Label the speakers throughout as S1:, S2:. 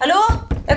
S1: Hallo? Jeg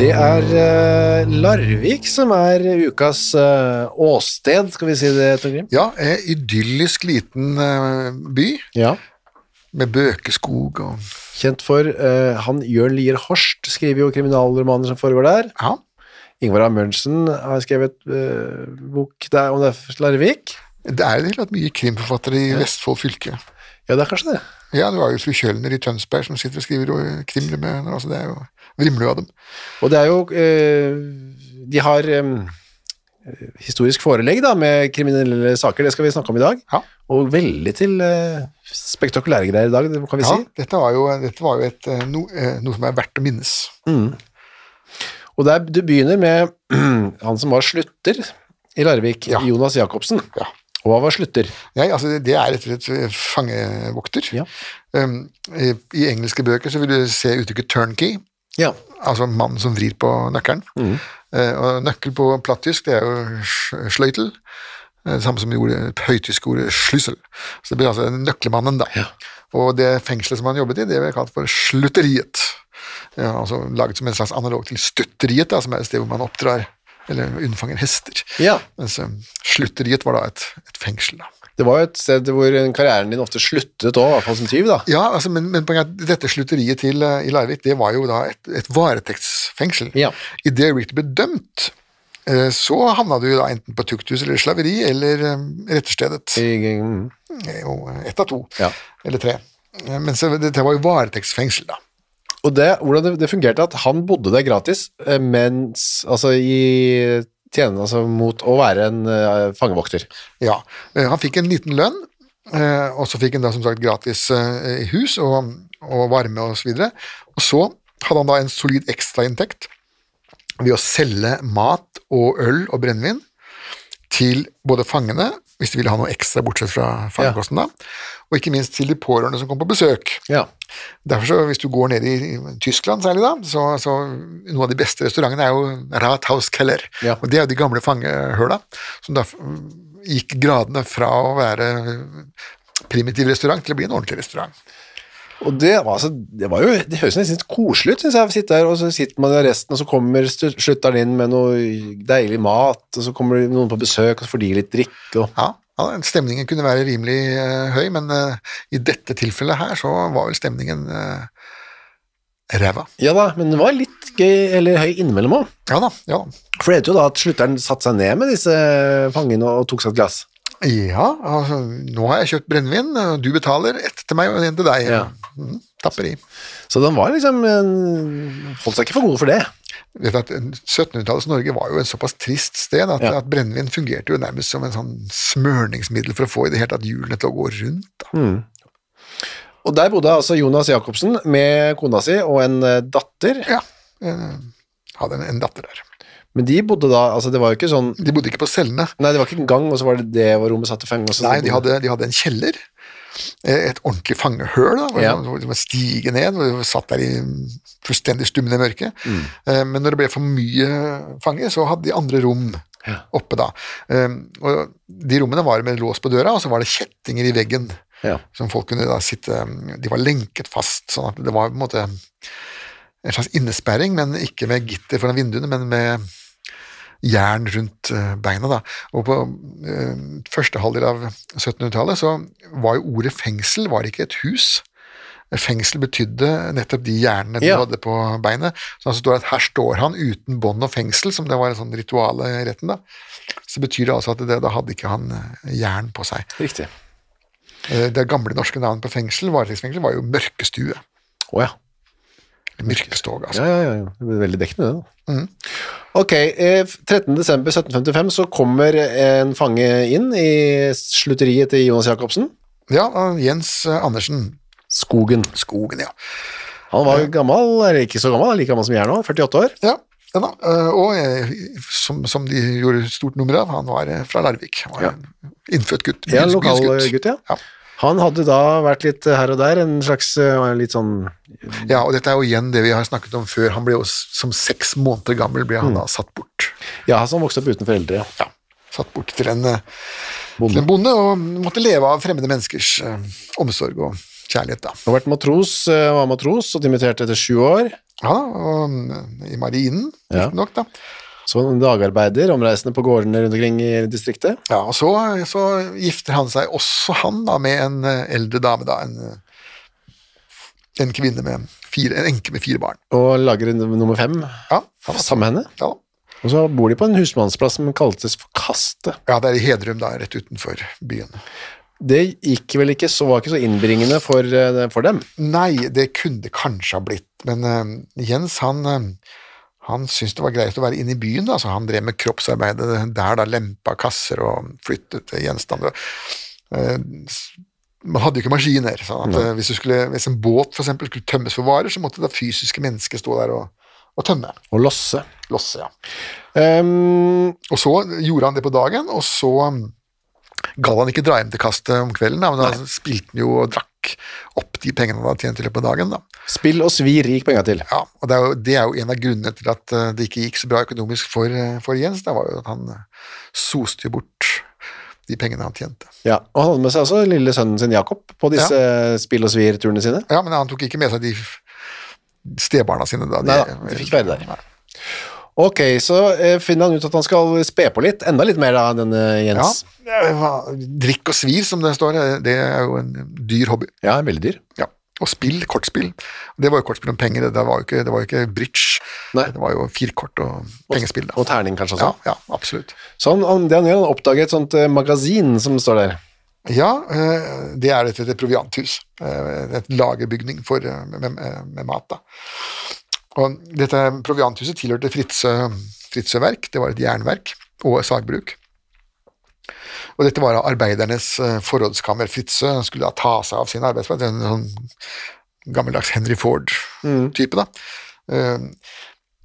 S2: Det er eh, Larvik som er ukas eh, åsted, skal vi si det, Torgrim?
S3: Ja, en idyllisk liten eh, by
S2: Ja.
S3: med bøkeskog og
S2: Kjent for eh, han Jørn Lier Horst, skriver jo kriminalromaner som foregår der.
S3: Ja.
S2: Ingvar Amundsen har skrevet eh, bok der om det er Larvik.
S3: Det er jo helt mye krimforfattere i Vestfold fylke.
S2: Ja, det er kanskje det.
S3: Ja, du har jo fru Kjølner i Tønsberg som sitter og skriver og krimler med henne. Altså, det er jo vrimler av dem.
S2: Og det er jo eh, De har eh, historisk forelegg da, med kriminelle saker, det skal vi snakke om i dag.
S3: Ja.
S2: Og veldig til eh, spektakulære greier i dag, det kan vi
S3: Ja,
S2: si.
S3: dette var jo, dette var jo et, eh, no, eh, noe som er verdt å minnes.
S2: Og der, du begynner med han som var slutter i Larvik,
S3: Ja.
S2: Jonas Jacobsen.
S3: Ja.
S2: Og han var slutter.
S3: Jeg, altså, det er rett og slett fangevokter.
S2: Ja.
S3: Um, i, I engelske bøker så vil du se uttrykket 'turnkey',
S2: Ja.
S3: altså mannen som vrir på nøkkelen. Eh, og nøkkel på plattysk, det er jo sj- sløytel. eh, Samme som i ordet, høytyske ordet slussel. Så det blir altså nøklemannen, da. Og det fengselet som han jobbet i, det ble kalt for slutteriet. Ja, altså laget som en slags analog til stutteriet, da, som er et sted hvor man oppdrar eller unnfanger hester.
S2: Ja.
S3: Mens eh, slutteriet var da et, et fengsel, da.
S2: Det var jo et sted hvor karrieren din ofte sluttet òg, i hvert fall som tyv. da.
S3: Ja, altså, men, men poenget er at dette slutteriet til, eh, i Larvik det var jo da et, et varetektsfengsel.
S2: Ja.
S3: I det øyeblikk du ble dømt, eh, så havna du jo da enten på tukthus eller slaveri eller eh, retterstedet.
S2: I- mm.
S3: Det er jo ett av to.
S2: Ja.
S3: Eller tre. Eh, Men så, dette var jo varetektsfengsel, da.
S2: Og det, hvordan det, det fungerte, at han bodde der gratis, eh, mens Altså i tjene altså, mot å være en eh, fangevokter.
S3: Ja. eh, Han fikk en liten lønn, eh, og så fikk han da som sagt gratis eh, hus og, og varme og så videre. Og så hadde han da en solid ekstrainntekt ved å selge mat og øl og brennevin til både fangene, hvis de ville ha noe ekstra bortsett fra fangekosten, da, og ikke minst til de pårørende som kom på besøk.
S2: Ja.
S3: Derfor så, Hvis du går ned i i Tyskland særlig, da, så, så noen av de beste restaurantene er jo Rathauskeller.
S2: Ja.
S3: Og det er jo de gamle fangehøla, som da mm, gikk gradene fra å være primitiv restaurant til å bli en ordentlig restaurant.
S2: Og det var, altså, det var jo Det høres nesten litt koselig ut, syns jeg. å sitte der, og så sitter man i arresten, og så kommer stu- slutteren inn med noe deilig mat, og så kommer det noen på besøk, og så får de litt drikke og
S3: Ja, ja, Stemningen kunne være rimelig eh, høy, men eh, i dette tilfellet her så var vel stemningen eh, ræva.
S2: Ja da, men det var litt gøy, eller høy innimellom òg.
S3: Ja da, ja da.
S2: For det heter jo da at slutteren satte seg ned med disse fangene og tok seg et glass.
S3: Ja, altså, nå har jeg kjøpt brennevin, og du betaler ett til meg og en til deg.
S2: Ja.
S3: Mm, tapper i.
S2: Så den var liksom en- Holdt seg ikke for god for det.
S3: Du vet at 1700-tallets Norge var jo en såpass trist sted at,
S2: Ja.
S3: at brennevin fungerte jo nærmest som en sånn smørningsmiddel for å få i det hele tatt hjulene til å gå rundt. Da.
S2: Og der bodde altså Jonas Jacobsen med kona si og en eh, datter.
S3: Ja, eh, hadde en, en datter der.
S2: Men de bodde da Altså, det var jo ikke sånn
S3: De bodde ikke på cellene.
S2: Nei, det var ikke en gang, og så var det det var rommet satt til fem. og så-
S3: Nei, de hadde, de hadde en kjeller eh, et ordentlig fangehøl, da, hvor
S2: Ja.
S3: man- hvor man stiger ned, hvor vi satt der i fullstendig stummende mørke.
S2: Mm.
S3: Eh, Men når det ble for mye fanger, så hadde de andre rom oppe da. Eh, Og de rommene var med lås på døra, og så var det kjettinger i veggen
S2: Ja.
S3: som folk kunne da sitte De var lenket fast, sånn at det var på en måte en slags innesperring, men ikke med gitter foran vinduene, men med jern rundt eh, beina. Da. Og på eh, første halvdel av 1700-tallet så var jo ordet fengsel var ikke et hus. Fengsel betydde nettopp de jernene
S2: Ja.
S3: du hadde på beinet. Så altså står det at her står han uten bånd og fengsel, som det var en sånn ritual i retten. da. Så betyr det altså at det, da hadde ikke han eh, jern på seg.
S2: Riktig.
S3: Eh, Det gamle norske navnet på fengsel, varetektsfengsel, var jo mørkestue.
S2: Å ja.
S3: Mørkestog, altså.
S2: Ja, ja, ja, ja. Det blir veldig dekkende, det. da. Mm. Ok, eh, 13. desember 1755 så kommer en fange inn i slutteriet til Jonas Jacobsen.
S3: Ja, og Jens eh, Andersen.
S2: Skogen.
S3: Skogen, ja.
S2: Han var jo gammel, eller ikke så gammel, han er like gammel som jeg er nå, 48 år.
S3: Ja, ja da. eh, Og eh, som, som de gjorde et stort nummer av, han var eh, fra Larvik. Han var
S2: Ja.
S3: en innfødt gutt.
S2: Ja, en
S3: byens-
S2: lokal
S3: byens
S2: eh, gutt, ja.
S3: Ja.
S2: Han hadde da vært litt eh, her og der, en slags eh, litt sånn
S3: Ja, og dette er jo igjen det vi har snakket om før. Han ble jo s- som seks måneder gammel ble han da
S2: Mm.
S3: satt bort.
S2: Ja, som vokste opp uten foreldre.
S3: Ja, satt bort til en, eh,
S2: Bonde.
S3: til en bonde og måtte leve av fremmede menneskers eh, omsorg og kjærlighet, da.
S2: Han har vært matros, eh, var matros og dimitterte etter sju år.
S3: Ja, og mm, i marinen,
S2: Ja.
S3: riktignok, da.
S2: Så var han dagarbeider, omreisende på gårdene rundt omkring i distriktet.
S3: Ja, og så, så gifter han seg også han da med en eh, eldre dame, da. En, eh, en kvinne med fire, en enke med fire barn.
S2: Og lager en nummer fem
S3: Ja, ja,
S2: sammen med henne.
S3: ja.
S2: Og så bor de på en husmannsplass som kaltes for Kaste.
S3: ja det er i Hedrum, da, rett utenfor byen.
S2: Det gikk vel ikke så, var ikke så innbringende for, eh, for dem.
S3: Nei, det kunne det kanskje ha blitt, men eh, Jens han, eh, han syntes det var greit å være inne i byen, da, så han drev med kroppsarbeidet der, da, lempa kasser og flyttet gjenstander. Eh, s- Man hadde jo ikke maskiner, sånn at eh, hvis, du skulle, hvis en båt for eksempel skulle tømmes for varer, så måtte det fysiske mennesket stå der og, og tømme,
S2: Å losse.
S3: losse, ja.
S2: Ehm,
S3: Og så gjorde han det på dagen, og så um, gadd han ikke dra hjem til kastet om kvelden, da, men da spilte han jo og drakk opp de pengene han hadde tjent i løpet av dagen, da.
S2: spill og svir gikk penga til.
S3: Ja, og det er, jo, det er jo en av grunnene til at eh, det ikke gikk så bra økonomisk for, eh, for Jens. Det var jo at han eh, soste jo bort de pengene han tjente.
S2: Ja, og han hadde med seg også lille sønnen sin Jakob på disse spill og svir-turene sine.
S3: Ja, men han tok ikke med seg de f- stebarna sine da.
S2: Nei da, de fikk være der. Ok, så eh, finner han ut at han skal spe på litt, enda litt mer da, denne
S3: Ja,
S2: Jens.
S3: eh, hva- drikk og svir, som det står, eh, det er jo en dyr hobby.
S2: Ja, veldig dyr.
S3: Ja. Og spill, kortspill. Det var jo kortspill om penger, det var jo ikke, det var jo ikke bridge.
S2: Nei.
S3: Det var jo firkort og pengespill da.
S2: Og sånn. terning kanskje også.
S3: Ja, ja, absolutt.
S2: Så han, han, det han gjør, han oppdager et sånt eh, magasin som står der.
S3: Ja, eh, det er et, et provianthus. eh, Et lagerbygning for, eh, med, med, med mat. Da. Og dette provianthuset tilhørte Fritzøe Fritzøe Verk. Det var et jernverk og et sagbruk. Og dette var arbeidernes eh, forrådskammer. Fritzøe skulle da ta seg av sin arbeidsplass. En sånn gammeldags Henry Ford-type, da. Eh,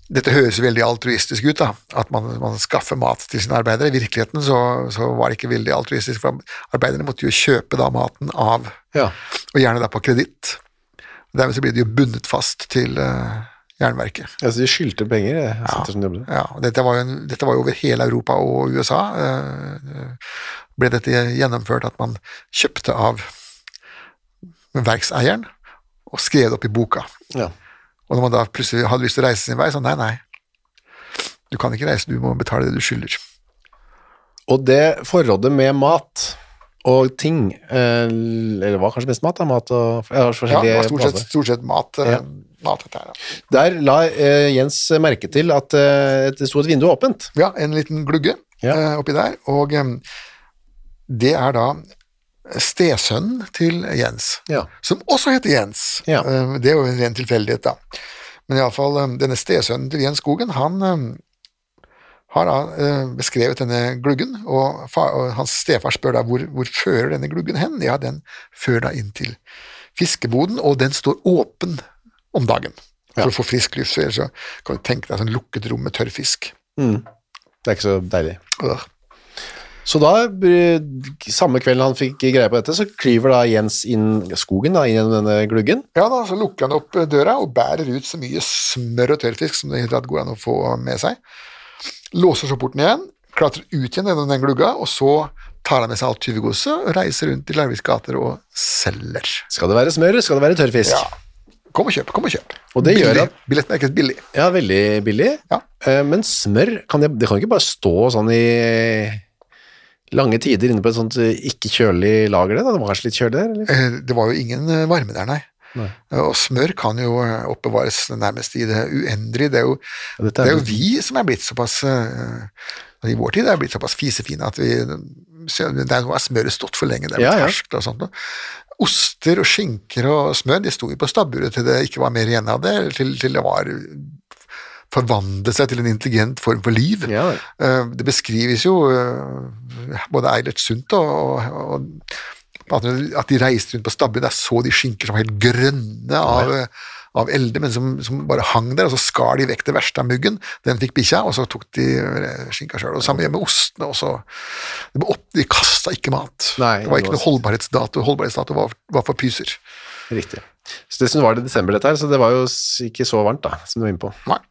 S3: dette høres jo veldig altruistisk ut, da, at man, man skaffer mat til sine arbeidere. I virkeligheten så, så var det ikke veldig altruistisk, for arbeiderne måtte jo kjøpe da maten av,
S2: Ja.
S3: og gjerne da på kreditt. Dermed så ble de jo bundet fast til eh, jernverket.
S2: Altså, de skyldte penger, eh, sitter som de jobbet.
S3: Ja, og dette, var jo en, dette var jo over hele Europa og USA. eh, ble dette gjennomført at man kjøpte av verkseieren og skrev det opp i boka.
S2: Ja.
S3: Og når man da plutselig hadde lyst til å reise sin vei, så nei, nei. Du kan ikke reise, du må betale det du skylder.
S2: Og det forrådet med mat og ting, eh, eller hva kanskje mest mat, da, mat og ja,
S3: Ja, det
S2: forskjellige
S3: var stort sett,
S2: plasser.
S3: stort sett mat, eh,
S2: Ja.
S3: mat dette her. da.
S2: Der la eh, Jens merke til at eh, det sto et vindu åpent.
S3: Ja, en liten glugge
S2: Ja.
S3: eh, oppi der, og eh, det er da eh, stesønnen til Jens,
S2: Ja.
S3: som også heter Jens.
S2: Ja.
S3: Eh, det er jo en ren tilfeldighet, da. Men iallfall, ehm, denne stesønnen til Jens Skogen, han eh, har da eh, beskrevet denne gluggen, og, fa- og hans stefar spør da hvor, hvor fører denne gluggen hen? Ja, den fører da inn til fiskeboden, og den står åpen om dagen for å få frisk luft. så Ellers så kan du tenke deg sånn lukket rom med tørr fisk.
S2: Det er ikke så deilig.
S3: Øh.
S2: Så da, eh, samme kvelden han fikk greie på dette, så klyver da Jens inn skogen, da, inn gjennom denne gluggen.
S3: Ja da, Så lukker han opp eh, døra og bærer ut så mye smør og tørrfisk som det i det hele tatt går an å få med seg. Låser så porten igjen, klatrer ut igjen gjennom den glugga, og så tar han med seg alt tyvegodset og reiser rundt i Larviks gater og selger.
S2: Skal det være smør, skal det være tørrfisk?
S3: Ja. Kom og kjøp, kom og kjøp.
S2: Og det gjør
S3: billig.
S2: at-
S3: Billettmerket billig.
S2: Ja, veldig billig.
S3: Ja.
S2: Eh, Men smør, kan det, det kan jo ikke bare stå sånn i lange tider inne på et sånt eh, ikke kjølig lager det, da? Det var kanskje litt kjølig der, eller?
S3: Eh, Det var jo ingen eh, varme der, nei. Eh, Og smør kan jo eh, oppbevares nærmest i det uendelige. Det er jo,
S2: Ja, dette
S3: Eh,
S2: er
S3: det er jo
S2: jo-
S3: vi som er blitt såpass eh, I vår tid er blitt såpass fisefine at vi så det er noe av smøret stått for lenge. Det er
S2: Ja,
S3: blitt
S2: ja.
S3: herskt og sånt. noe. Oster og skinker og smør de sto jo på stabburet til det ikke var mer igjen av det, eller til, til det var forvandlet seg til en intelligent form for liv.
S2: Ja, vel.
S3: Eh, Det beskrives jo eh, både Eilert Sundt og, og, og at at de reiste rundt på stabben, der så de skinker som var helt grønne av, eh, av elde, men som, som bare hang der, og så skar de vekk det verste av muggen. Den fikk bikkja, og så tok de eh, skinka sjøl. Samme gjør med ostene også. De, ble opp- de kasta ikke mat.
S2: Nei,
S3: det var ikke
S2: det
S3: noe holdbarhetsdato. Holdbarhetsdato var, var for pyser.
S2: Riktig. Så dessuten var det i desember dette her, så det var jo s- ikke så varmt da, som du var inne på.
S3: Nei.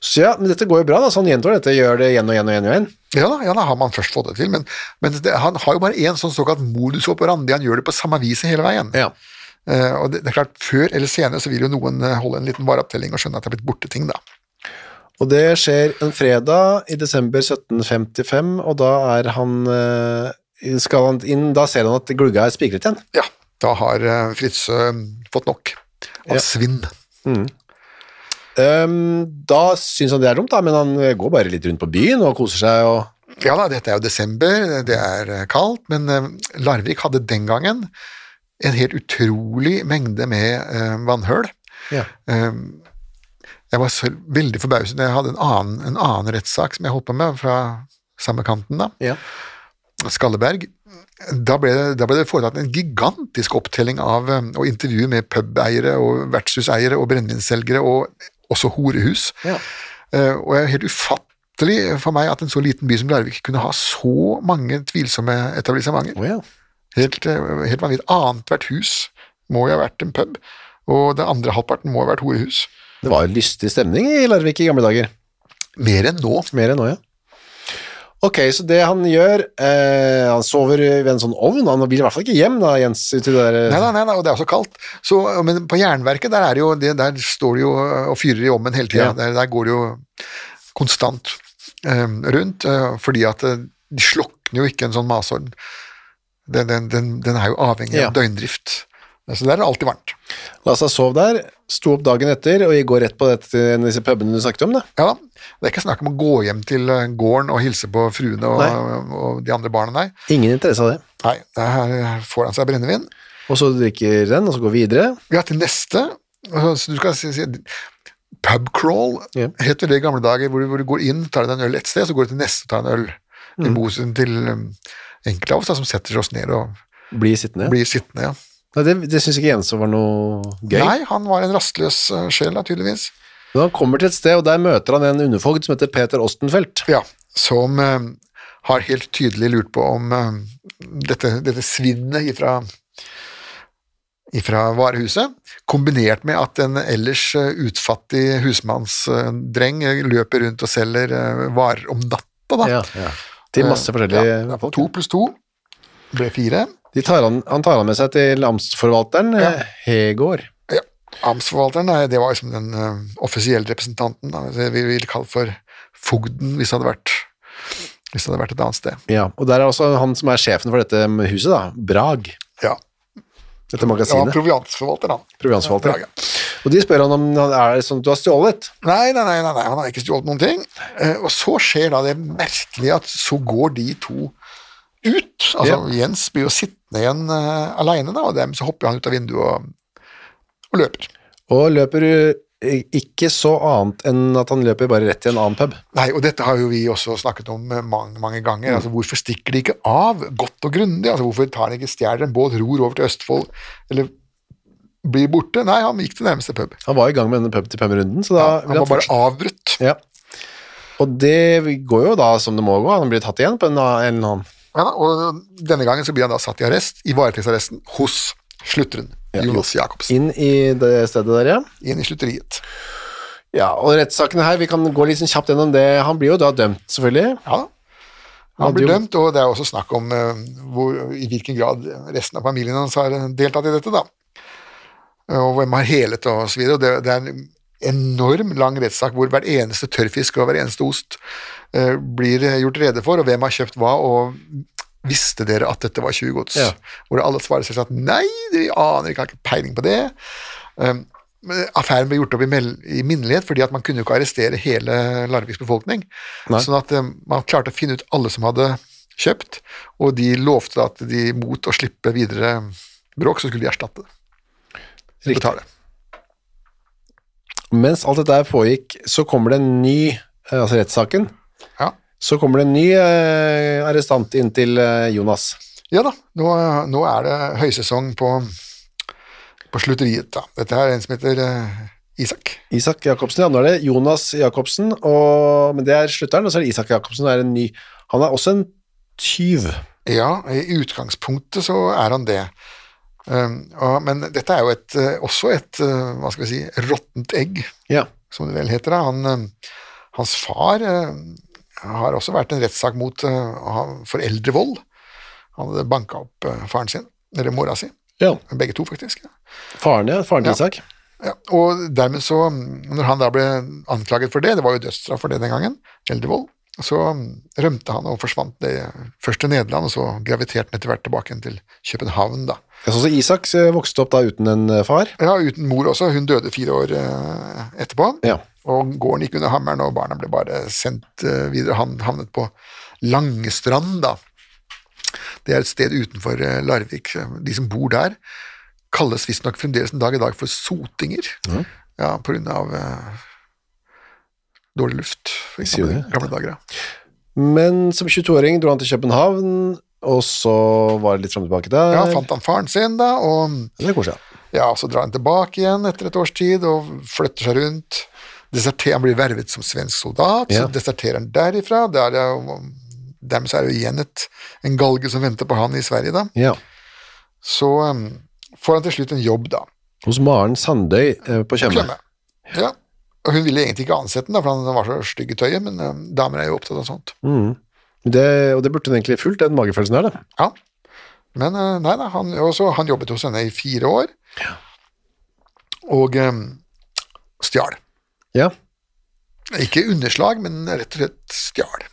S2: Så ja, men dette går jo bra da, så han gjentar dette, gjør det igjen og igjen og igjen og igjen.
S3: Ja da, ja da har man først fått det til, men, men det, han har jo bare én sånn såkalt modus operandi. Han gjør det på samme viset hele veien.
S2: Ja.
S3: Eh, og det, det er klart, Før eller senere så vil jo noen eh, holde en liten vareopptelling og skjønne at det er blitt borte ting. da.
S2: Og det skjer en fredag i desember 1755, og da er han eh, skal han inn, da ser han at glugga er spikret igjen.
S3: Ja, Da har eh, Fritzøe mm, fått nok av svinn.
S2: Ehm, da syns han det er dumt, da, men han eh, går bare litt rundt på byen og koser seg og
S3: Ja da, dette er jo desember, det er eh, kaldt, men eh, Larvik hadde den gangen en helt utrolig mengde med eh, vannhøl.
S2: ja.
S3: Ehm, Jeg var så veldig forbauset når jeg hadde en annen, en annen rettssak som jeg holdt på med fra samme kanten, da, Skalleberg. Da ble, det, da ble det foretatt en gigantisk opptelling av eh, og intervju med pubeiere og vertshuseiere og brennevinsselgere og også horehus.
S2: Ja.
S3: Eh, Og det er helt ufattelig for meg at en så liten by som Larvik kunne ha så mange tvilsomme etablissementer.
S2: Å ja.
S3: Helt, eh, helt vanvittig. Annethvert hus må jo ha vært en pub, og den andre halvparten må ha vært horehus.
S2: Det var jo lystig stemning i Larvik i gamle dager.
S3: Mer enn nå.
S2: Mer enn nå, ja. Ok, så det han gjør eh, Han sover ved en sånn ovn. Han vil i hvert fall ikke hjem, da, Jens. Ut i det der, eh,
S3: Nei, nei, nei, nei, og det er også kaldt. Så, men på Jernverket, der, er det jo, det, der står det jo og fyrer i ovnen hele tida.
S2: Ja.
S3: Der, der går det jo konstant eh, rundt, eh, fordi at eh, de slukner jo ikke en sånn masorm. Den, den, den, den er jo avhengig
S2: Ja.
S3: av døgndrift. Så der er det alltid varmt.
S2: La seg sove der. Sto opp dagen etter og går rett på dette, en av disse pubene du snakket om. Da.
S3: Ja da. Det er ikke snakk om å gå hjem til eh, gården og hilse på fruene og,
S2: Nei.
S3: og de andre barna, nei.
S2: Ingen interesse av det.
S3: Nei, der får han seg brennevin.
S2: Og så drikker den, og så går videre.
S3: Ja, til neste altså, så Du skal si, si pubcrawl,
S2: Ja.
S3: het vel det i gamle dager, hvor du, hvor du går inn, tar deg en øl et sted, så går du til neste og tar en øl.
S2: Mm.
S3: I motsetning til um, enkelte av oss da, som setter oss ned og
S2: Blir sittende.
S3: blir sittende. Ja.
S2: Nei, det det syns ikke Jens var noe gøy.
S3: Nei, han var en rastløs uh, sjel, da, tydeligvis.
S2: Men han kommer til et sted, og der møter han en underfogd som heter Peter Ostenfeldt.
S3: Ja, som um, har helt tydelig lurt på om um, dette, dette svinnet ifra ifra varehuset, kombinert med at en ellers eh, utfattig husmannsdreng eh, løper rundt og selger eh, varer om natta, da.
S2: Ja, ja. Til masse forskjellige
S3: Ja,
S2: folk.
S3: To pluss to ble fire.
S2: De tar han, han tar han med seg til amtsforvalteren, eh, Hegård.
S3: Amtsforvalteren, nei, det var liksom den eh, offisielle representanten, da. Det vi ville kalt for fogden, hvis det hadde vært hvis det hadde vært et annet sted.
S2: Ja, og der er også han som er sjefen for dette huset, da. Brag.
S3: Ja,
S2: Dette
S3: det var
S2: magasinet.
S3: proviansforvalter, han.
S2: Proviansforvalter.
S3: Ja,
S2: Og de spør han om han er det sånn at du har stjålet.
S3: Nei, nei, nei, nei, nei, han har ikke stjålet noen ting. Eh, og så skjer da det merkelige at så går de to ut. Altså, Jens blir jo sittende igjen eh, alene, da, og dem, så hopper han ut av vinduet og, og løper.
S2: Og løper eh, ikke så annet enn at han løper bare rett til en annen pub.
S3: Nei, og dette har jo vi også snakket om eh, mange, mange ganger. Altså, hvorfor stikker de ikke av godt og grundig? Altså, hvorfor tar de ikke stjeler en båt, ror over til Østfold, eller blir borte? Nei, han gikk til nærmeste pub.
S2: Han var i gang med denne pub til pub-runden, så da
S3: Han var bare avbrutt.
S2: Ja. Og det går jo da som det må gå. Han blir tatt igjen på en en eller annen
S3: Ja, da, og denne gangen så blir han da satt i arrest, i varetektsarresten, hos slutteren, Jonas Jacobsen,
S2: Inn i det stedet der, ja.
S3: inn i slutteriet.
S2: Ja, og rettssakene her, vi kan gå litt sånn kjapt gjennom det. Han blir jo da dømt, selvfølgelig.
S3: Ja da.
S2: Han
S3: Han blir
S2: hadde jo-
S3: dømt, og det er også snakk om eh, hvor, i hvilken grad resten av familien hans har eh, deltatt i dette, da. Eh, Og hvem har helet og så videre. Og det, det er en enorm lang rettssak hvor hver eneste tørrfisk og hver eneste ost eh, blir gjort rede for, og hvem har kjøpt hva, og visste dere at dette var tjuvgods?
S2: Ja.
S3: Hvor alle svarer selvsagt nei, de aner ikke, har ikke peiling på det. Um, men affæren ble gjort opp i, mel- i minnelighet fordi at man kunne jo ikke arrestere hele Larviks befolkning. Sånn at um, man klarte å finne ut alle som hadde kjøpt, og de lovte da at de mot å slippe videre bråk, så skulle de erstatte det.
S2: Riktig.
S3: Betale.
S2: Mens alt dette her pågikk, så kommer det en ny, eh, altså rettssaken,
S3: Ja.
S2: så kommer det en ny eh, arrestant inn til eh, Jonas.
S3: ja da, nå, nå er det høysesong på, på slutteriet. Da. Dette her er en som heter eh, Isak.
S2: Isak Jacobsen, ja, nå er det Jonas Jacobsen, og, men det er slutteren, og så er det Isak Jacobsen, det er en ny. Han er også en tyv.
S3: Ja, i utgangspunktet så er han det. Um, og, men dette er jo et, eh, også et eh, hva skal vi si, råttent egg,
S2: Ja.
S3: som det vel heter. da. Han, eh, hans far eh, har også vært en rettssak mot eh, ha- foreldrevold. Han hadde banka opp eh, faren sin, eller mora si.
S2: ja.
S3: Begge to, faktisk.
S2: Faren, ja, faren til
S3: Ja.
S2: Isak.
S3: Ja, og dermed så, mm, når han da ble anklaget for det, det var jo dødsstraff for det den gangen, eldrevold, så mm, rømte han og forsvant det først til Nederland, og så graviterte han etter hvert tilbake igjen til København, da.
S2: Jeg så også Isak eh, vokste opp da uten en eh, far.
S3: Ja, uten mor også, hun døde fire år eh, etterpå,
S2: Ja.
S3: og gården gikk under hammeren, og barna ble bare sendt eh, videre. Han havnet på Langestrand, da. Det er et sted utenfor eh, Larvik. De som bor der, kalles visstnok fremdeles en dag i dag for sotinger. Ja, på grunn av eh, dårlig luft, for
S2: Sier du
S3: eksempel. i Gamle dager, ja.
S2: Men som 22-åring dro han til København, og så var det litt frem og tilbake der.
S3: ja. Fant han faren sin, da, og
S2: Det er koselig, ja.
S3: ja, så drar han tilbake igjen etter et års tid og flytter seg rundt. Deserter, han blir vervet som svensk soldat,
S2: Ja.
S3: så deserterer han derifra. Der er, jo- dermed så er det jo igjen et, en galge som venter på han i Sverige, da.
S2: Ja.
S3: Så um, får han til slutt en jobb, da.
S2: Hos Maren Sandøy eh, på Tjøme.
S3: Klemme. Ja. Og hun ville egentlig ikke ansette den, da, for han var så stygg i tøyet, men um, damer er jo opptatt av sånt.
S2: Det, og det burde hun egentlig fulgt, den magefølelsen her, da.
S3: Ja. Men eh, nei da, han, og så- han jobbet hos henne i fire år, og em, stjal.
S2: Ja.
S3: Ikke underslag, men rett og slett stjal.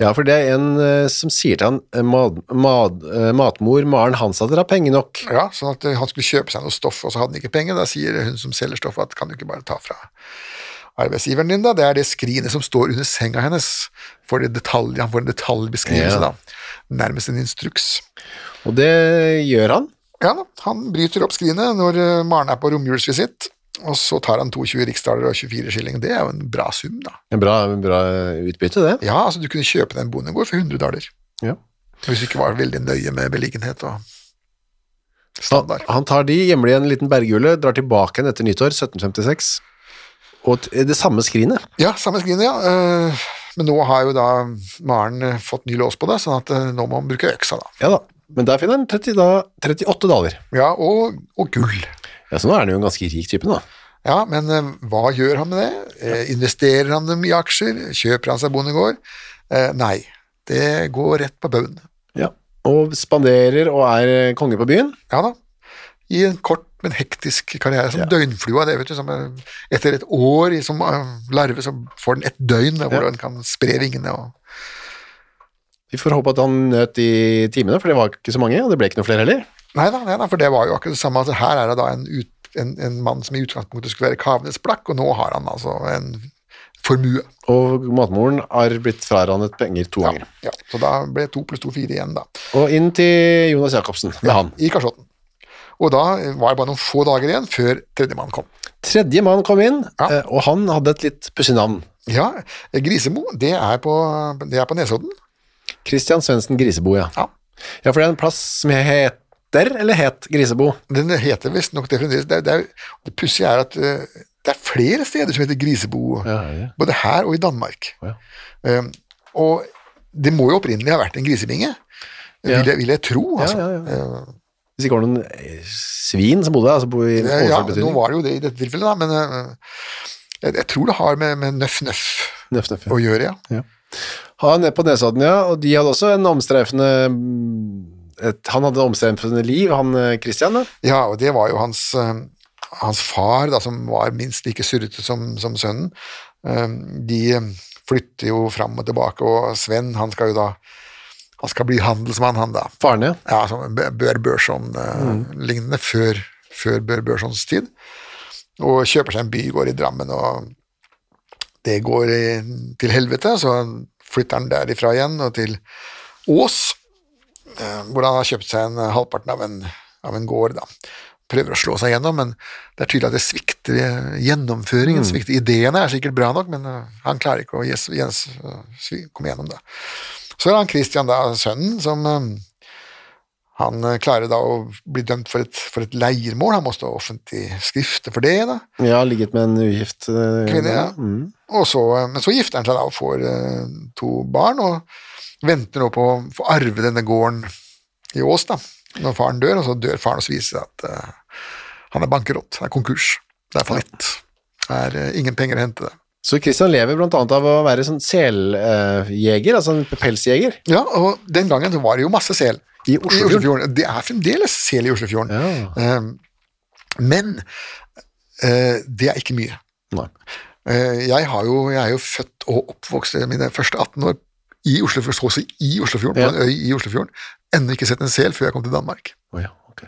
S2: ja, for det er en eh, som sier til han eh, mad, mad, eh, matmor Maren Hansdatter har penger nok.
S3: Ja, sånn at eh, han skulle kjøpe seg noe stoff, og så hadde han ikke penger. Da sier hun som selger stoffet at kan du ikke bare ta fra arbeidsgiveren din, da? Det er det skrinet som står under senga hennes. For det detalj, han får en detaljbeskrivelse,
S2: Ja.
S3: da. Nærmest en instruks.
S2: Og det gjør han.
S3: Ja da, han bryter opp skrinet når eh, Maren er på romjulsvisitt, og så tar han 22 riksdaler og 24 skilling. Det er jo en bra sum, da.
S2: En bra, en bra eh, utbytte, det.
S3: Ja, altså du kunne kjøpe deg en bondegård for 100 daler.
S2: Ja.
S3: Hvis du ikke var veldig nøye med beliggenhet og
S2: Han,
S3: standard.
S2: han tar de hjemlig i en liten berghule, drar tilbake igjen etter nyttår, 1756. Og t det samme skrinet.
S3: Ja, samme skrinet, ja. Eh, Men nå har jo da Maren eh, fått ny lås på det, sånn at eh, nå må man bruke øksa, da.
S2: Ja da. Men der finner han 30, da, 38 daler.
S3: Ja, og, og gull.
S2: Ja, Så nå er han jo en ganske rik type, da.
S3: Ja, men eh, hva gjør han med det? Eh, Investerer han dem i aksjer? Kjøper han seg bondegård? Eh, Nei, det går rett på baugen.
S2: Ja. Og spanderer og er eh, konge på byen.
S3: Ja da. I en kort, men hektisk karriere, som
S2: Ja.
S3: døgnflua. det vet du, som eh, Etter et år i- som eh, larve, så får den et døgn da, hvor
S2: Ja.
S3: den kan spre vingene. og
S2: Vi får håpe at han nøt de timene, for det var ikke så mange, og det ble ikke noe flere heller.
S3: Nei da, nei da, for det var jo akkurat det samme. Altså, her er det da en, ut, en, en mann som i utgangspunktet skulle være Kavenes blakk, og nå har han altså en formue.
S2: Og matmoren har blitt frarannet penger to ganger.
S3: Ja, så da ble to pluss to fire igjen, da,
S2: Og inn til Jonas Jacobsen med han.
S3: i kasjotten. Og da var det bare noen få dager igjen før tredjemann kom.
S2: Tredje mann kom inn,
S3: Ja.
S2: eh, og han hadde et litt pussig navn.
S3: Ja, Grisemo, det er på, det er på Nesodden.
S2: Christian Svendsen Grisebo, ja.
S3: Ja.
S2: Ja, for det er en plass som heter, eller het, Grisebo.
S3: Den heter visstnok det fremdeles. Det, er- det, er- det pussige er at eh, det er flere steder som heter Grisebo,
S2: ja.
S3: både her og i Danmark.
S2: Å,
S3: Ehm, Eh, og det må jo opprinnelig ha vært en grisebinge, vil, jeg, vil jeg tro. Altså.
S2: ja, Hvis ikke var det noen eh, svin som bodde der, altså bo i
S3: Eh,
S2: overført
S3: Ja, nå
S2: betydning.
S3: var det jo det i dette tilfellet, da, men eh, jeg, jeg tror det har med, med nøff-nøff
S2: Nøff, nøff, ja.
S3: å gjøre, ja.
S2: Han ned på Nesodden, ja, og de hadde også en omstreifende mm, et, Han hadde omstreifende liv, han eh, Christian, da.
S3: Ja, og det var jo hans, eh, hans far, da, som var minst like surrete som, som sønnen. Eh, De flytter jo fram og tilbake, og Sven han skal jo da han skal bli handelsmann, han da.
S2: Faren, ja.
S3: Ja, som Bø- Bør Børson-lignende, før, før Bør Børsons tid. Og kjøper seg en bygård i Drammen, og det går i, til helvete, så flytter han derifra igjen og til Ås, eh, hvor han har kjøpt seg en eh, halvparten av en, av en gård. da. Prøver å slå seg gjennom, men det er tydelig at det svikter i gjennomføringen. svikter Ideene er sikkert bra nok, men eh, han klarer ikke å gjes- gjes- svi- komme gjennom det. Så er han Christian, da, sønnen, som eh, han eh, klarer da å bli dømt for et, for et leiermål, han må stå offentlig skrifte for det. da.
S2: Ja, ligget med en ugift eh,
S3: Kvinne, ja.
S2: Mm.
S3: Og så, eh, men så gifter han seg da og får eh, to barn, og venter nå på å få arve denne gården i Ås da, når faren dør, og så dør faren og så viser det seg at eh, han er bankerott, han er konkurs, det er fallitt. Det er eh, ingen penger å hente det.
S2: Så Christian lever blant annet av å være sånn seljeger, altså en pelsjeger.
S3: Ja, og den gangen så var det jo masse sel
S2: I Oslofjorden.
S3: Det er fremdeles sel i Oslofjorden.
S2: Ja.
S3: Eh, Men eh, det er ikke mye.
S2: Nei.
S3: Eh, Jeg, har jo, jeg er jo født og oppvokst eh, mine første 18 år i Oslofjorden, så å si i Oslofjorden,
S2: Ja.
S3: på en øy i Oslofjorden. Ennå ikke sett en sel før jeg kom til Danmark.
S2: Å ja, ok.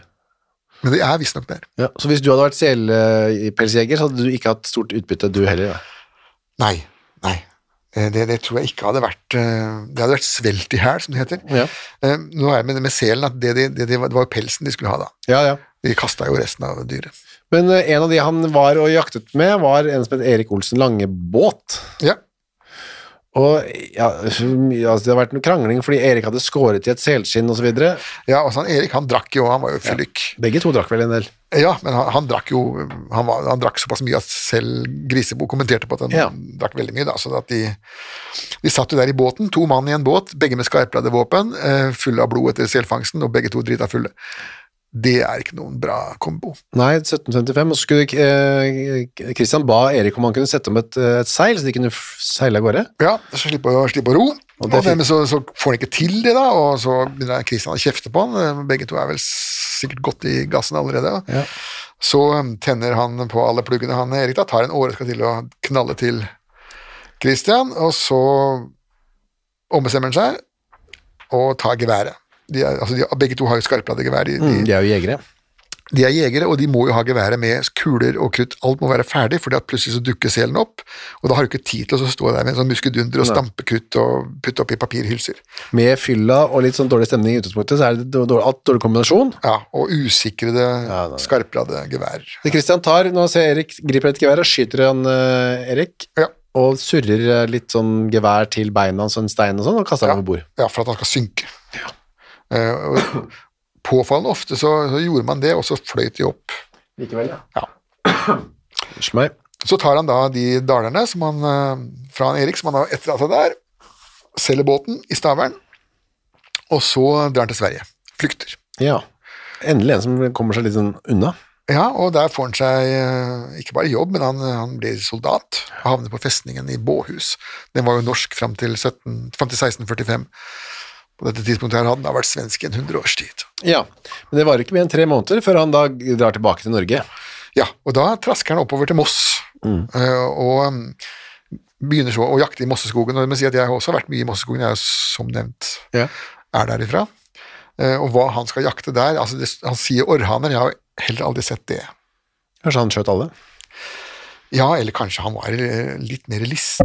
S3: Men det er visstnok der.
S2: Ja, så hvis du hadde vært selpelsjeger, så hadde du ikke hatt stort utbytte, du heller? Da.
S3: Nei. nei. Eh, Det, det tror jeg ikke hadde vært eh, Det hadde vært svelt i hæl, som det heter.
S2: Ja.
S3: Eh, Nå er det med, med selen at det, det, det, det var det var jo pelsen de skulle ha da.
S2: Ja, ja.
S3: De kasta jo resten av dyret.
S2: Men eh, en av de han var og jaktet med, var en som het Erik Olsen Langebåt.
S3: Ja.
S2: Og ja, så mye- altså, det har vært noe krangling fordi Erik hadde skåret i et selskinn osv.
S3: Ja, altså han Erik han drakk jo, han var jo fyllik.
S2: Begge to drakk vel en del.
S3: Ja, men han, han drakk jo han, var, han drakk såpass mye at selv Grisebo kommenterte på at han
S2: Ja.
S3: drakk veldig mye. Da, så at de, de satt jo der i båten, to mann i en båt, begge med skarpladde våpen, eh, fulle av blod etter selfangsten, og begge to drita fulle. Det er ikke noen bra kombo.
S2: Nei, 1755. Og så skulle eh, Christian ba Erik om han kunne sette om et, eh, et seil, så de kunne f- seile av gårde.
S3: Ja, så slipper å, slipper å ro. Og
S2: det er fint.
S3: dermed så, så får han ikke til det, da, og så begynner Kristian å kjefte på han. Eh, Begge to er vel sikkert godt i gassen allerede.
S2: Ja.
S3: Så um, tenner han på alle pluggene han Erik da, tar en åre skal til å knalle til Kristian, og så ombestemmer han seg og tar geværet. De er, altså de, begge to har jo skarpladegevær. De, de,
S2: Mm, De er jo jegere.
S3: de er jegere, og de må jo ha geværet med kuler og krutt. Alt må være ferdig, for plutselig så dukker selen opp, og da har du ikke tid til å stå der med en sånn muskedunder og stampe krutt og putte opp i papirhylser.
S2: Med fylla og litt sånn dårlig stemning i utgangspunktet, så er det dårlig, alt dårlig kombinasjon.
S3: Ja, og usikrede,
S2: Ja, da-
S3: skarpladde geværer.
S2: Så Christian tar, nå ser Erik, griper et gevær og skyter han eh, Erik,
S3: Ja.
S2: og surrer eh, litt sånn gevær til beina hans, en stein og sånn, og kaster han over bord.
S3: Ja, for at han skal synke. Eh, og påfallende ofte så, så gjorde man det, og så fløyt de opp.
S2: Likevel, ja.
S3: Ja.
S2: Unnskyld meg.
S3: Så tar han da de dalerne som han, eh, fra han Erik som han har etterlatt seg der, selger båten i Stavern, og så drar han til Sverige. Flykter.
S2: Ja. Endelig en som kommer seg litt sånn unna.
S3: Ja, og der får han seg eh, ikke bare jobb, men han, han blir soldat og havner på festningen i Båhus. Den var jo norsk fram til, 17, fram til 1645. På dette tidspunktet her hadde den da vært svensk i en hundre års tid.
S2: Ja, men det var ikke mer enn tre måneder før han da drar tilbake til Norge.
S3: Ja, og da trasker han oppover til Moss, eh, og mm, begynner så å jakte i Mosseskogen. Og jeg må si at jeg har også vært mye i Mosseskogen, jeg er jo som nevnt
S2: Ja.
S3: er derifra. Eh, Og hva han skal jakte der altså det, Han sier orrhaner, jeg har heller aldri sett det.
S2: Kanskje han skjøt alle.
S3: Ja, eller kanskje han var eh, litt mer list.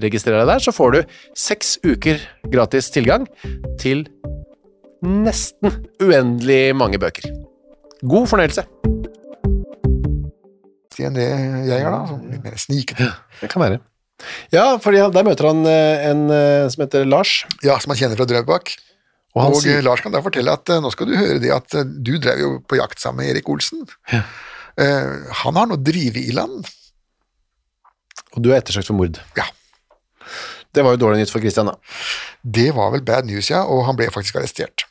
S2: Registrer deg der, så får du seks uker gratis tilgang til nesten uendelig mange bøker. God fornøyelse.
S3: Det enn det jeg gjør, da. Sånn litt mer snikete.
S2: Det kan være. Ja, for der møter han eh, en eh, som heter Lars.
S3: Ja, som man kjenner fra Drøbak.
S2: Og han
S3: Og, eh,
S2: sier
S3: Lars kan da fortelle at eh, nå skal du høre det at eh, du drev jo på jakt sammen med Erik Olsen. Eh, han har nå drevet i land.
S2: Og du er ettersøkt for mord.
S3: Ja,
S2: Det var jo dårlig nytt for Christian, da.
S3: det var vel bad news, ja, og han ble faktisk arrestert.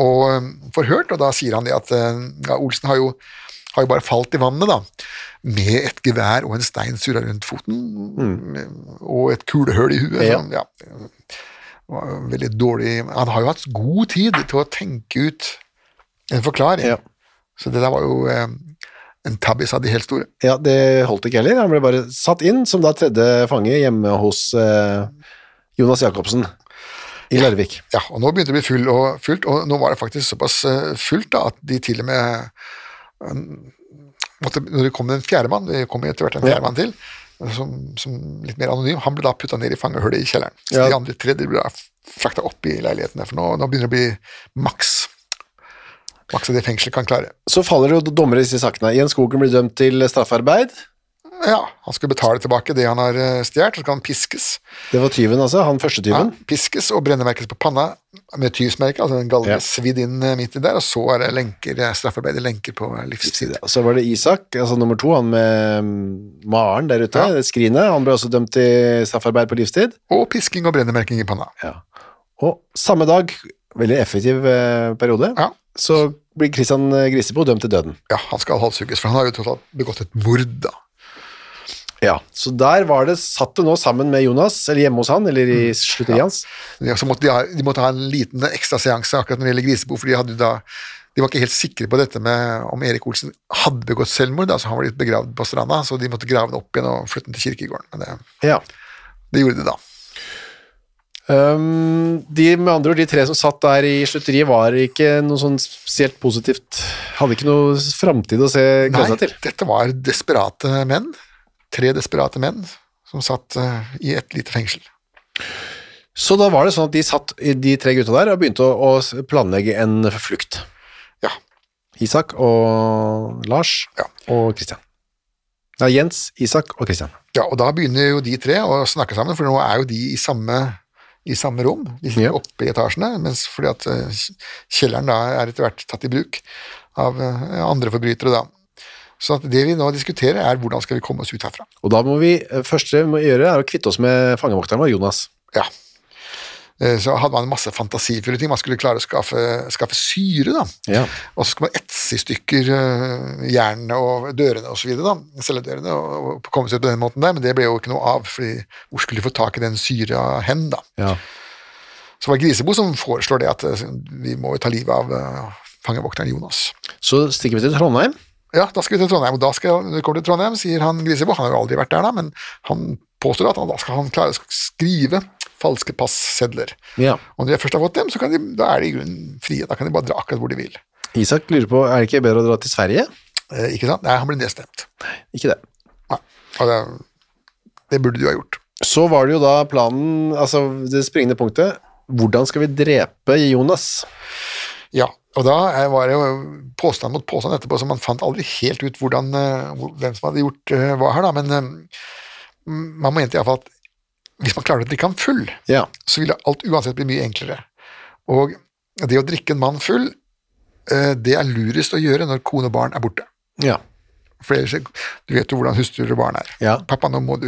S3: Og eh, forhørt, og da sier han det at eh, ja, Olsen har jo, har jo bare falt i vannet, da. Med et gevær og en stein surra rundt foten, og et kulehull i huet.
S2: Mm. Ja.
S3: sånn, ja. Det var jo Veldig dårlig Han har jo hatt god tid til å tenke ut en forklaring.
S2: Ja.
S3: Så det der var jo eh, en tabbis av de helt store.
S2: Ja, Det holdt ikke heller. Han ble bare satt inn som da tredje fange hjemme hos eh, Jonas Jacobsen i Larvik.
S3: Ja, og nå begynte det å bli full og fullt, og nå var det faktisk såpass eh, fullt da, at de til og med eh, måtte, Når det kom en fjerdemann, det kom jo etter hvert en
S2: Ja.
S3: fjerdemann til, eh, som, som litt mer anonym, han ble da putta ned i fangehullet i kjelleren. Så
S2: Ja.
S3: de andre tre de ble da frakta opp i leilighetene, for nå, nå begynner det å bli maks. Maks av det fengselet kan klare.
S2: Så faller det jo dommer i disse sakene. Jens Skogen blir dømt til straffarbeid.
S3: Ja, han skulle betale tilbake det han har eh, stjålet, så skal han piskes.
S2: Det var tyven, altså. Han første
S3: Ja,
S2: tyven.
S3: piskes og brennemerkes på panna med tyvsmerke, altså en galge
S2: Ja.
S3: svidd inn eh, midt i der, og så er det lenker, eh, straffarbeidet lenker på eh, livstid.
S2: Så var det Isak, altså nummer to, han med mm, Maren der ute,
S3: Ja.
S2: det skrinet. Han ble også dømt til straffarbeid på livstid.
S3: Og pisking og brennemerking i panna.
S2: Og samme dag, veldig effektiv eh, periode,
S3: Ja.
S2: så blir Christian eh, Grisebo dømt til døden.
S3: Ja, han skal halshugges, for han har jo tross alt begått et mord, da.
S2: Ja. Så der var det, satt det nå sammen med Jonas, eller hjemme hos han, eller i slutteriet hans.
S3: Mm. Ja, Så måtte de, ha, de måtte ha en liten ekstra seanse akkurat når det gjelder Grisebo, for de hadde jo da de var ikke helt sikre på dette med om Erik Olsen hadde begått selvmord. Altså han var blitt begravd på stranda, så de måtte grave den opp igjen og flytte den til kirkegården. Men det,
S2: Ja.
S3: det gjorde de da.
S2: Um, de, med andre ord, de tre som satt der i slutteriet, var ikke noe sånn spesielt positivt. Hadde ikke noe framtid å se glede
S3: Nei,
S2: seg til.
S3: dette var desperate menn. Tre desperate menn som satt eh, i et lite fengsel.
S2: Så da var det sånn at de satt, de tre gutta der, og begynte å, å planlegge en flukt.
S3: Ja.
S2: Isak og Lars
S3: Ja.
S2: og Christian. Nei, Jens, Isak og Christian.
S3: ja, og da begynner jo de tre å snakke sammen, for nå er jo de i samme, i samme rom, de sitter
S2: Ja.
S3: oppe i etasjene, mens fordi at eh, kjelleren da er etter hvert tatt i bruk av eh, andre forbrytere da. Så at det vi nå diskuterer er hvordan skal vi komme oss ut herfra.
S2: Og da må vi, eh, første vi må gjøre er å kvitte oss med fangevokteren vår, Jonas.
S3: Ja. Eh, Så hadde man masse fantasifulle ting. Man skulle klare å skaffe, skaffe syre, da.
S2: Ja.
S3: Og så skulle man etse i stykker eh, jernene og dørene og så videre, da. Celledørene, og, og komme seg ut på den måten der, men det ble jo ikke noe av, fordi hvor skulle de få tak i den syra hen, da?
S2: Ja.
S3: Så var det Grisebo som foreslår det, at eh, vi må jo ta livet av eh, fangevokteren Jonas.
S2: Så stikker vi til Trondheim.
S3: Ja, da skal vi til Trondheim, og da skal, når vi kommer til Trondheim, sier han Grisebo, han har jo aldri vært der da, men han påstår at han, da skal han klare å skrive falske passedler.
S2: Ja.
S3: Og når de først har fått dem, så kan de, da er de i grunnen frie, da kan de bare dra akkurat hvor de vil.
S2: Isak lurer på, er det ikke bedre å dra til Sverige?
S3: Eh, ikke sant? Nei, han ble nedstemt.
S2: Ikke det.
S3: Nei. Og det, det burde du ha gjort.
S2: Så var det jo da planen, altså det springende punktet, hvordan skal vi drepe Jonas?
S3: Ja, og da er- var det jo påstand mot påstand etterpå, så man fant aldri helt ut hvordan, eh, hvor- hvem som hadde gjort eh, hva her, da. Men eh, man mente iallfall at hvis man klarer å drikke ham full,
S2: Ja.
S3: så ville alt uansett bli mye enklere. Og det å drikke en mann full, eh, det er lurest å gjøre når kone og barn er borte.
S2: Ja.
S3: For ellers, du vet jo hvordan hustruer og barn er.
S2: Ja.
S3: Pappa, nå må du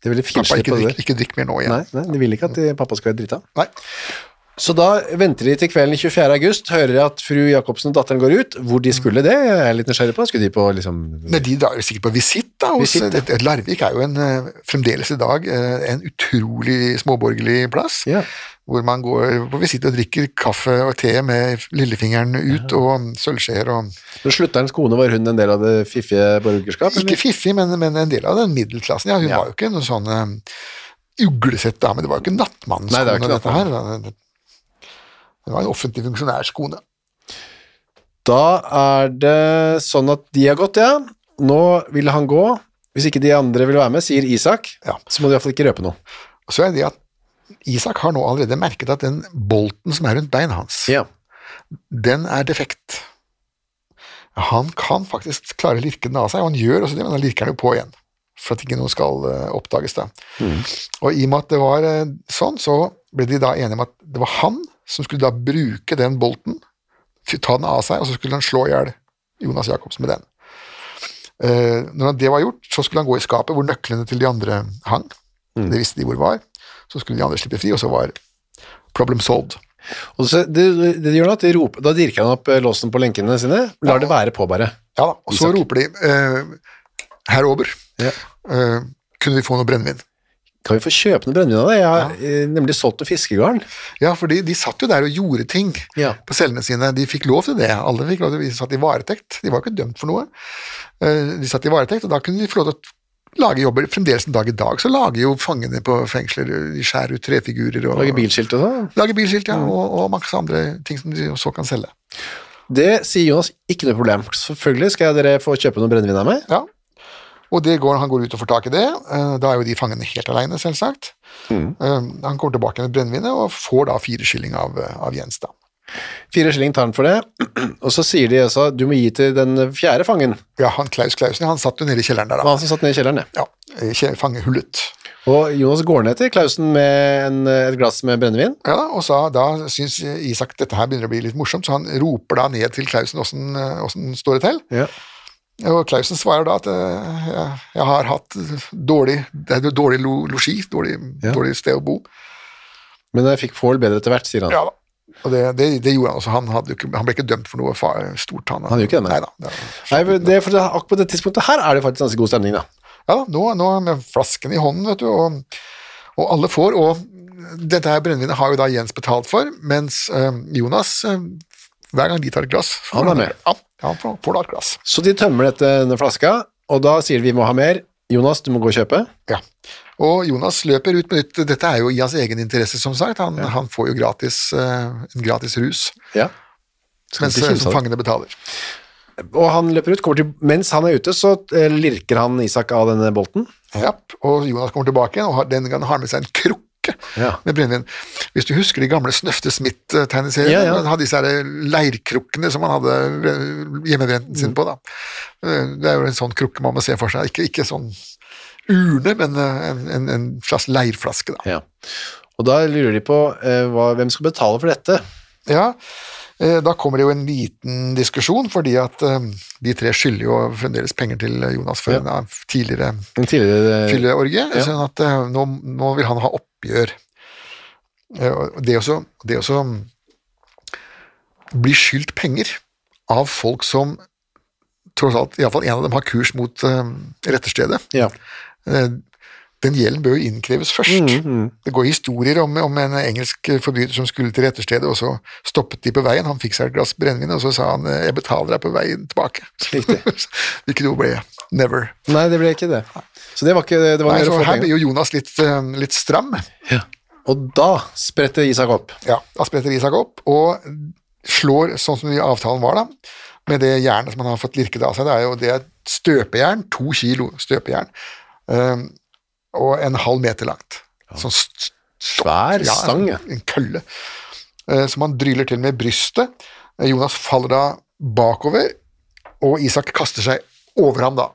S2: Det er veldig
S3: Pappa,
S2: finslipp
S3: ikke
S2: på det.
S3: drikk, ikke drikk mer nå igjen.
S2: Nei, nei, de ville ikke at eh, pappa skulle være drita.
S3: Nei.
S2: Så da venter de til kvelden 24. august, hører de at fru Jacobsen og datteren går ut. Hvor de skulle det, jeg er litt nysgjerrig på. Skulle de på liksom
S3: Men de drar jo sikkert på visitt, da. Hos,
S2: Visitt, ja.
S3: et- et Larvik er jo en, eh, fremdeles i dag eh, en utrolig småborgerlig plass.
S2: Ja.
S3: Hvor man går på visitt og drikker kaffe og te med lillefingeren ut og sølvskjeer og
S2: Når slutterens kone, var hun en del av det fiffige borgerskap? eller?
S3: Ikke fiffig, men, men en del av den middelklassen. Ja, hun
S2: Ja.
S3: var jo ikke noen sånn eh, uglesett dame, det var jo ikke
S2: Nei, det er jo
S3: nattmannskone
S2: ikke
S3: dette her. Det var en offentlig funksjonærskone.
S2: Da er det sånn at de har gått, ja. Nå vil han gå. Hvis ikke de andre vil være med, sier Isak,
S3: Ja.
S2: så må du iallfall ikke røpe noe.
S3: Og så er det at Isak har nå allerede merket at den bolten som er rundt beina hans, den er defekt. Han kan faktisk klare å lirke den av seg, og han gjør også det, men han lirker den jo på igjen. For at ikke noe skal eh, oppdages, da. Og i og med at det var eh, sånn, så ble de da enige om at det var han som skulle da bruke den bolten, til å ta den av seg, og så skulle han slå i hjel Jonas Jacobsen med den. Eh, når det var gjort, så skulle han gå i skapet hvor nøklene til de andre hang. Det visste de hvor var. Så skulle de andre slippe fri, og så var problem solved.
S2: Og så, det, det de gjør Da at de roper, da dirker han opp eh, låsen på lenkene sine. Lar det være på, bare.
S3: Ja da, og så
S2: Isak.
S3: roper de eh, Herr Ober,
S2: Ja.
S3: eh, kunne vi få noe brennevin?
S2: Kan vi få kjøpe noe brennevin av det? Jeg har eh, nemlig solgt noe fiskegarn.
S3: Ja, for de, de satt jo der og gjorde ting
S2: Ja.
S3: på cellene sine. De fikk lov til det. Alle fikk lov til De satt i varetekt. De var jo ikke dømt for noe. Eh, De satt i varetekt, og da kunne de få lov til å lage jobber. Fremdeles en dag i dag så lager jo fangene på fengsler De skjærer ut trefigurer og
S2: Lage bilskilt og sånn.
S3: Lager bilskilt, ja. Og, og masse andre ting som de så kan selge.
S2: Det sier Jonas ikke noe problem. Selvfølgelig skal dere få kjøpe noe brennevin av meg.
S3: Ja. Og det går, han går ut og får tak i det. Eh, Da er jo de fangene helt alene, selvsagt. Eh, Han kommer tilbake med brennevinet og får da fire skilling av, eh, av Jens, da.
S2: Fire skilling tar han for det. Og så sier de også du må gi til den fjerde fangen.
S3: Ja, han Klaus Klausen, han satt jo nede i kjelleren der,
S2: Det var
S3: da.
S2: han som satt ned i kjelleren. det.
S3: Ja, i kje- fangehullet.
S2: Og Jonas går ned til Klausen med en, et glass med brennevin.
S3: Ja, da, og så, da syns Isak dette her begynner å bli litt morsomt, så han roper da ned til Klausen åssen eh, åssen står det til.
S2: Ja.
S3: Og Klausen svarer da at eh, jeg, jeg har hatt dårlig, det er jo dårlig lo- losji, dårlig,
S2: Ja.
S3: dårlig sted å bo.
S2: Men jeg fikk Pål bedre etter hvert, sier han.
S3: Ja da. Og det, det, det gjorde han også. Han, hadde jo ikke, han ble ikke dømt for noe fa stort. Han,
S2: Han gjør ikke det, nei.
S3: Neida, det var-
S2: Nei, men det, for det, akkurat på det tidspunktet her er det faktisk ganske god stemning, da.
S3: Ja da, nå, nå med flasken i hånden, vet du, og, og alle får. Og dette her brennevinet har jo da Jens betalt for, mens eh, Jonas eh, hver gang de tar et glass får
S2: Han er med.
S3: Ja, han får, får da et glass.
S2: Så de tømmer dette, denne flaska, og da sier de vi må ha mer. Jonas, du må gå og kjøpe.
S3: Ja. Og Jonas løper ut med nytt. Dette er jo i hans egen interesse, som sagt. Han, han får jo gratis, eh, en gratis rus,
S2: Ja.
S3: mens
S2: ikke
S3: eh,
S2: kimse av det.
S3: fangene betaler.
S2: Og han løper ut. Kommer til, mens han er ute, så eh, lirker han Isak av denne bolten.
S3: Ja, og Jonas kommer tilbake igjen, og har, denne gangen har han med seg en krukke
S2: Ja.
S3: med brennevin. Hvis du husker de gamle Snøfte Smith-tegneseriene,
S2: Ja, ja.
S3: han hadde disse her eh, leirkrukkene som han hadde hjemmebrenten
S2: Mm.
S3: sin på. Da. Det er jo en sånn krukke man må se for seg. Ikke, ikke sånn urne, men eh, en, en, en slags leirflaske. Da.
S2: Ja. Og da lurer de på eh, hva, hvem skal betale for dette.
S3: Ja, eh, da kommer det jo en liten diskusjon, fordi at eh, de tre skylder jo fremdeles penger til Jonas for en av tidligere
S2: Den tidligere
S3: fylleorgie,
S2: Ja.
S3: sånn at eh, nå, nå vil han ha oppgjør. Eh, og Det også, det også mm, blir skyldt penger av folk som tross alt, iallfall en av dem har kurs mot eh, retterstedet.
S2: Ja.
S3: Eh, Den gjelden bør jo innkreves først.
S2: Mm,
S3: Det går historier om, om en engelsk forbryter som skulle til retterstedet, og så stoppet de på veien. Han fikk seg et glass brennevin, og så sa han eh, 'jeg betaler deg på veien tilbake'.
S2: Riktig.
S3: Hvilket jo ble never.
S2: Nei, det ble ikke det. Så det var ikke det var
S3: Nei,
S2: mer å
S3: så
S2: få
S3: her
S2: penger.
S3: blir jo Jonas litt, eh, litt stram.
S2: Og da spretter Isak opp.
S3: Ja, da spretter Isak opp og slår sånn som i avtalen var, da. Med det jernet som han har fått lirket av seg. Det er jo det er et støpejern, to kilo støpejern, eh, og en halv meter langt. Sånn st- st-
S2: Svær
S3: ja,
S2: stang. ja.
S3: En, en kølle. eh, som han dryller til med brystet. Eh, Jonas faller da bakover, og Isak kaster seg over ham da,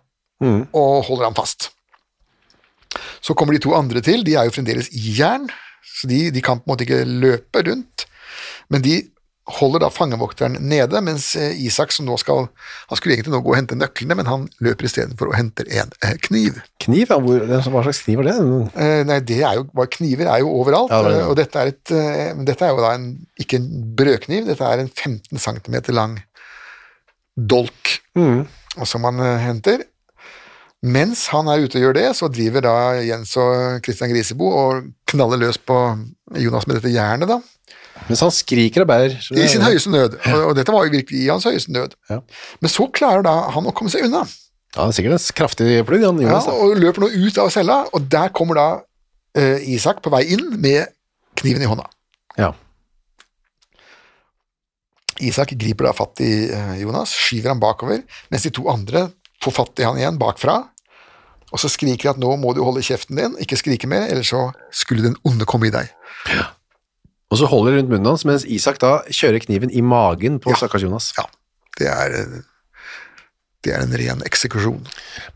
S2: Mm.
S3: og holder ham fast. Så kommer de to andre til, de er jo fremdeles i jern, så de, de kan på en måte ikke løpe rundt, men de holder da fangevokteren nede, mens eh, Isak som nå skal, han skulle egentlig nå gå og hente nøklene, men han løper i stedet for og henter en eh, kniv.
S2: Kniv? Ja, hvor, hva slags kniv var det? En-
S3: Eh, Nei, det er jo, bare kniver er jo overalt,
S2: Ja, det er det.
S3: eh, og dette er, et, eh, men dette er jo da en, ikke en brødkniv, dette er en 15 cm lang dolk
S2: Mm.
S3: og som han eh, henter. Mens han er ute og gjør det, så driver da Jens og Christian Grisebo og knaller løs på Jonas med dette jernet, da.
S2: Mens han skriker og bærer. så
S3: I
S2: det-
S3: sin høyeste nød, og, og dette var jo virkelig i hans høyeste nød.
S2: Ja.
S3: Men så klarer da han å komme seg unna,
S2: Ja, det er sikkert en kraftig plugg, han
S3: ja,
S2: Jonas. da.
S3: og løper nå ut av cella, og der kommer da eh, Isak på vei inn med kniven i hånda.
S2: Ja.
S3: Isak griper da fatt i eh, Jonas, skyver han bakover, mens de to andre får fatt i han igjen bakfra, og så skriker de at nå må du holde kjeften din, ikke skrike mer, ellers så skulle den onde komme i deg.
S2: Og så holder de rundt munnen hans, mens Isak da kjører kniven i magen på stakkars Jonas.
S3: Ja, det er, eh, det er en ren eksekusjon.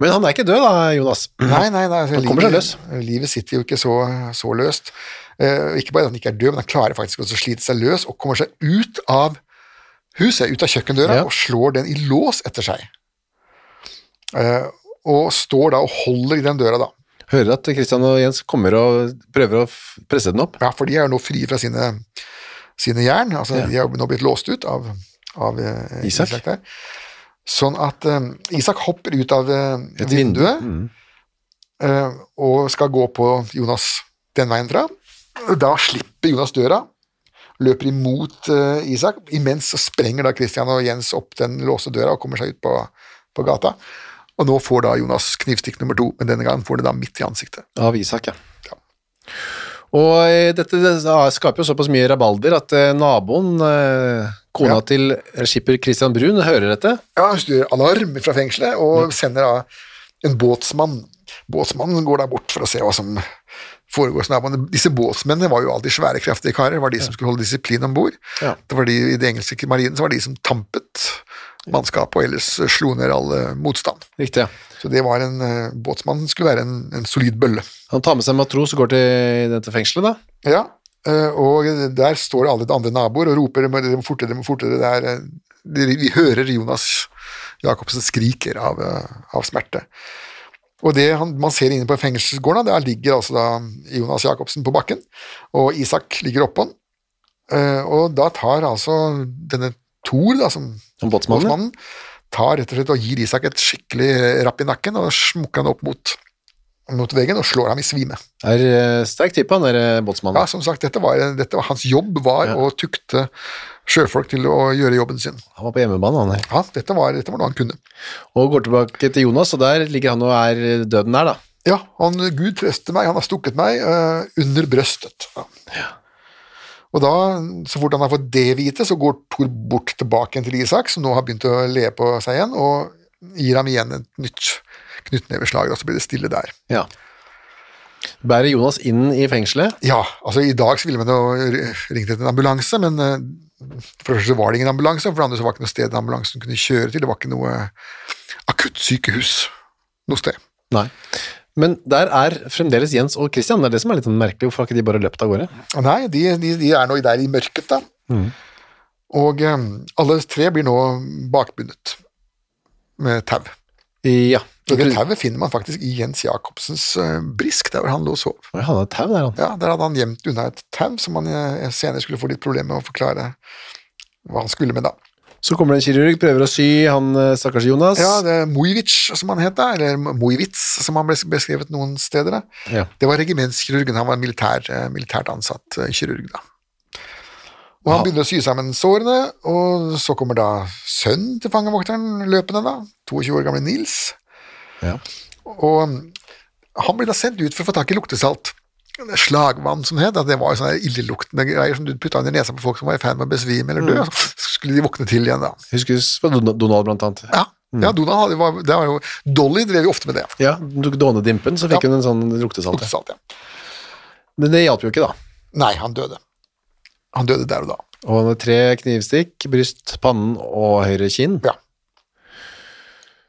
S2: Men han er ikke død da, Jonas.
S3: Nei, nei, nei.
S2: Han kommer seg løs.
S3: Livet sitter jo ikke så, så løst. Eh, og ikke bare at han ikke er død, men han klarer faktisk også å slite seg løs og kommer seg ut av huset, ut av kjøkkendøra,
S2: Ja.
S3: og slår den i lås etter seg. Eh, og står da og holder i den døra, da.
S2: Hører at Kristian og Jens kommer og prøver å f- presse den opp.
S3: Ja, for de er jo nå frie fra sine, sine jern. Altså,
S2: Ja.
S3: De er jo nå blitt låst ut av, av eh,
S2: Isak.
S3: Isak. der. Sånn at eh, Isak hopper ut av eh,
S2: Et vindu. Mm.
S3: vinduet eh, og skal gå på Jonas den veien fra. Da slipper Jonas døra, løper imot eh, Isak. Imens så sprenger da Christian og Jens opp den låste døra og kommer seg ut på, på gata. Og nå får da Jonas knivstikk nummer to, men denne gangen får det da midt i ansiktet.
S2: Av Isak, ja. Og eh, dette det, da skaper jo såpass mye rabalder at eh, naboen, eh, kona
S3: Ja.
S2: til skipper Kristian Brun, hører dette.
S3: Ja, han styrer alarm fra fengselet og sender da en båtsmann. Båtsmannen går da bort for å se hva som foregår hos naboene. Disse båtsmennene var jo alltid svære, kraftige karer. Det var de som skulle holde disiplin om bord.
S2: Ja.
S3: Det var de i den engelske marinen som var de som tampet mannskapet og ellers slo ned all eh, motstand.
S2: Riktig, ja.
S3: Så det var en eh, båtsmann skulle være en, en solid bølle.
S2: Han tar med seg en matros og går til dette fengselet, da.
S3: Ja, eh, og der står det alle de andre naboer og roper «Dere må- dere må fortere, dere må fortere. Det er, eh, de- vi hører Jonas Jacobsen skriker av, eh, av smerte. Og det han, man ser inne på fengselsgården, da, der ligger altså da Jonas Jacobsen på bakken, og Isak ligger oppå han. Eh, Og da tar altså denne Thor, da, som
S2: Han båtsmannen.
S3: Båtsmannen tar rett og slett og gir Isak et skikkelig rapp i nakken og smukker han opp mot, mot veggen og slår ham i svime.
S2: Er eh, sterk type, han der eh, båtsmannen.
S3: Ja, som sagt, dette var, dette var hans jobb, var å tukte sjøfolk til å gjøre jobben sin.
S2: Han var på hjemmebane, han der.
S3: Ja, dette var, dette var noe han kunne.
S2: Og går tilbake til Jonas, og der ligger han og er døden der, da.
S3: Ja, han, Gud trøste meg, han har stukket meg eh, under brøstet. Ja. Og da, så fort han har fått det vite, så går Thor bort tilbake igjen til Isak, som nå har begynt å le på seg igjen, og gir ham igjen et nytt knyttneveslag, og så blir det stille der.
S2: Ja. Bærer Jonas inn i fengselet.
S3: Ja, altså i dag så ville man jo ringt etter en ambulanse, men eh, for det første var det ingen ambulanse, og for det andre så var det ikke noe sted ambulansen kunne kjøre til. Det var ikke noe akuttsykehus noe sted.
S2: Nei. Men der er fremdeles Jens og Christian. Det er det som er litt sånn merkelig. Hvorfor har ikke de bare løpt av gårde?
S3: Og Nei, de, de, de er nå i- der i mørket, da. Og eh, alle tre blir nå bakbundet med tau.
S2: Ja.
S3: Og Det tauet finner man faktisk i Jens Jacobsens eh, brisk, der hvor han lå og sov.
S2: Oi, han har tau der, han.
S3: Ja, Der hadde han gjemt unna et tau som han eh, senere skulle få litt problemer med å forklare hva han skulle med, da.
S2: Så kommer det en kirurg, prøver å sy han eh, stakkars Jonas.
S3: Ja, det er Mojvic, som han het da, eller Mojvitz, som han ble beskrevet noen steder. Da.
S2: Ja.
S3: Det var regimentskirurgen, han var en militær, eh, militært ansatt eh, kirurg da. Og han begynner å sy sammen sårene, og så kommer da sønnen til fangevokteren løpende da, 22 år gamle Nils.
S2: Ja.
S3: Og mm, han blir da sendt ut for å få tak i luktesalt. Slagvann som det het, da, det var jo sånne illeluktende greier som du putta under nesa på folk som var i ferd med å besvime eller dø, og så skulle de våkne til igjen da.
S2: Huskes fra Don- Donald, blant annet.
S3: Ja, ja Donald hadde, var, det var jo, Dolly drev jo ofte med det.
S2: Ja, tok Dånedimpen, så fikk
S3: Ja.
S2: hun en sånn luktesalt. ja.
S3: Luktesalt, ja.
S2: Men det hjalp jo ikke, da.
S3: Nei, han døde. Han døde der og da.
S2: Og han har tre knivstikk, bryst, pannen og høyre kinn.
S3: Ja.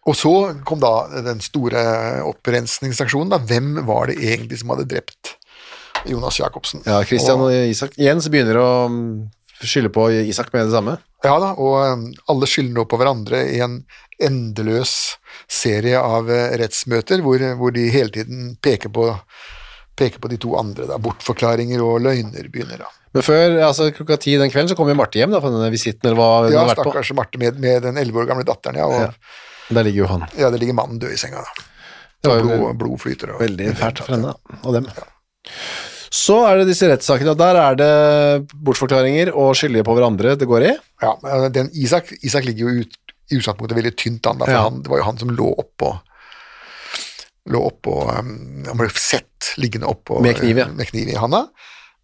S3: Og så kom da den store opprensningsaksjonen. Da. Hvem var det egentlig som hadde drept Jonas Jacobsen?
S2: Ja, Christian
S3: og,
S2: og Isak. Jens begynner å mm, skylder på Isak med det samme.
S3: Ja da, og um, alle skylder nå på hverandre i en endeløs serie av eh, rettsmøter hvor, hvor de hele tiden peker på, peker på de to andre. Da. Bortforklaringer og løgner begynner da.
S2: Men før altså, klokka ti den kvelden så kom jo Marte hjem da, fra denne visitten eller hva hun
S3: Ja,
S2: har vært på.
S3: stakkars Marte med, med den 11 år gamle datteren, ja. Og, ja.
S2: Der ligger jo han.
S3: det ligger mannen død i senga da.
S2: Det var jo
S3: Blod, blod flyter. Og,
S2: veldig fælt altså. for henne da, og dem. Så er det disse rettssakene, og der er det bortforklaringer og skyldige på hverandre det går i.
S3: Ja, men eh, den Isak, Isak ligger jo ut, i utgangspunktet veldig tynt an, da, for
S2: Ja.
S3: han, det var jo han som lå oppå lå oppå um, Han ble sett liggende oppå
S2: Med kniv, ja.
S3: med kniv i handa.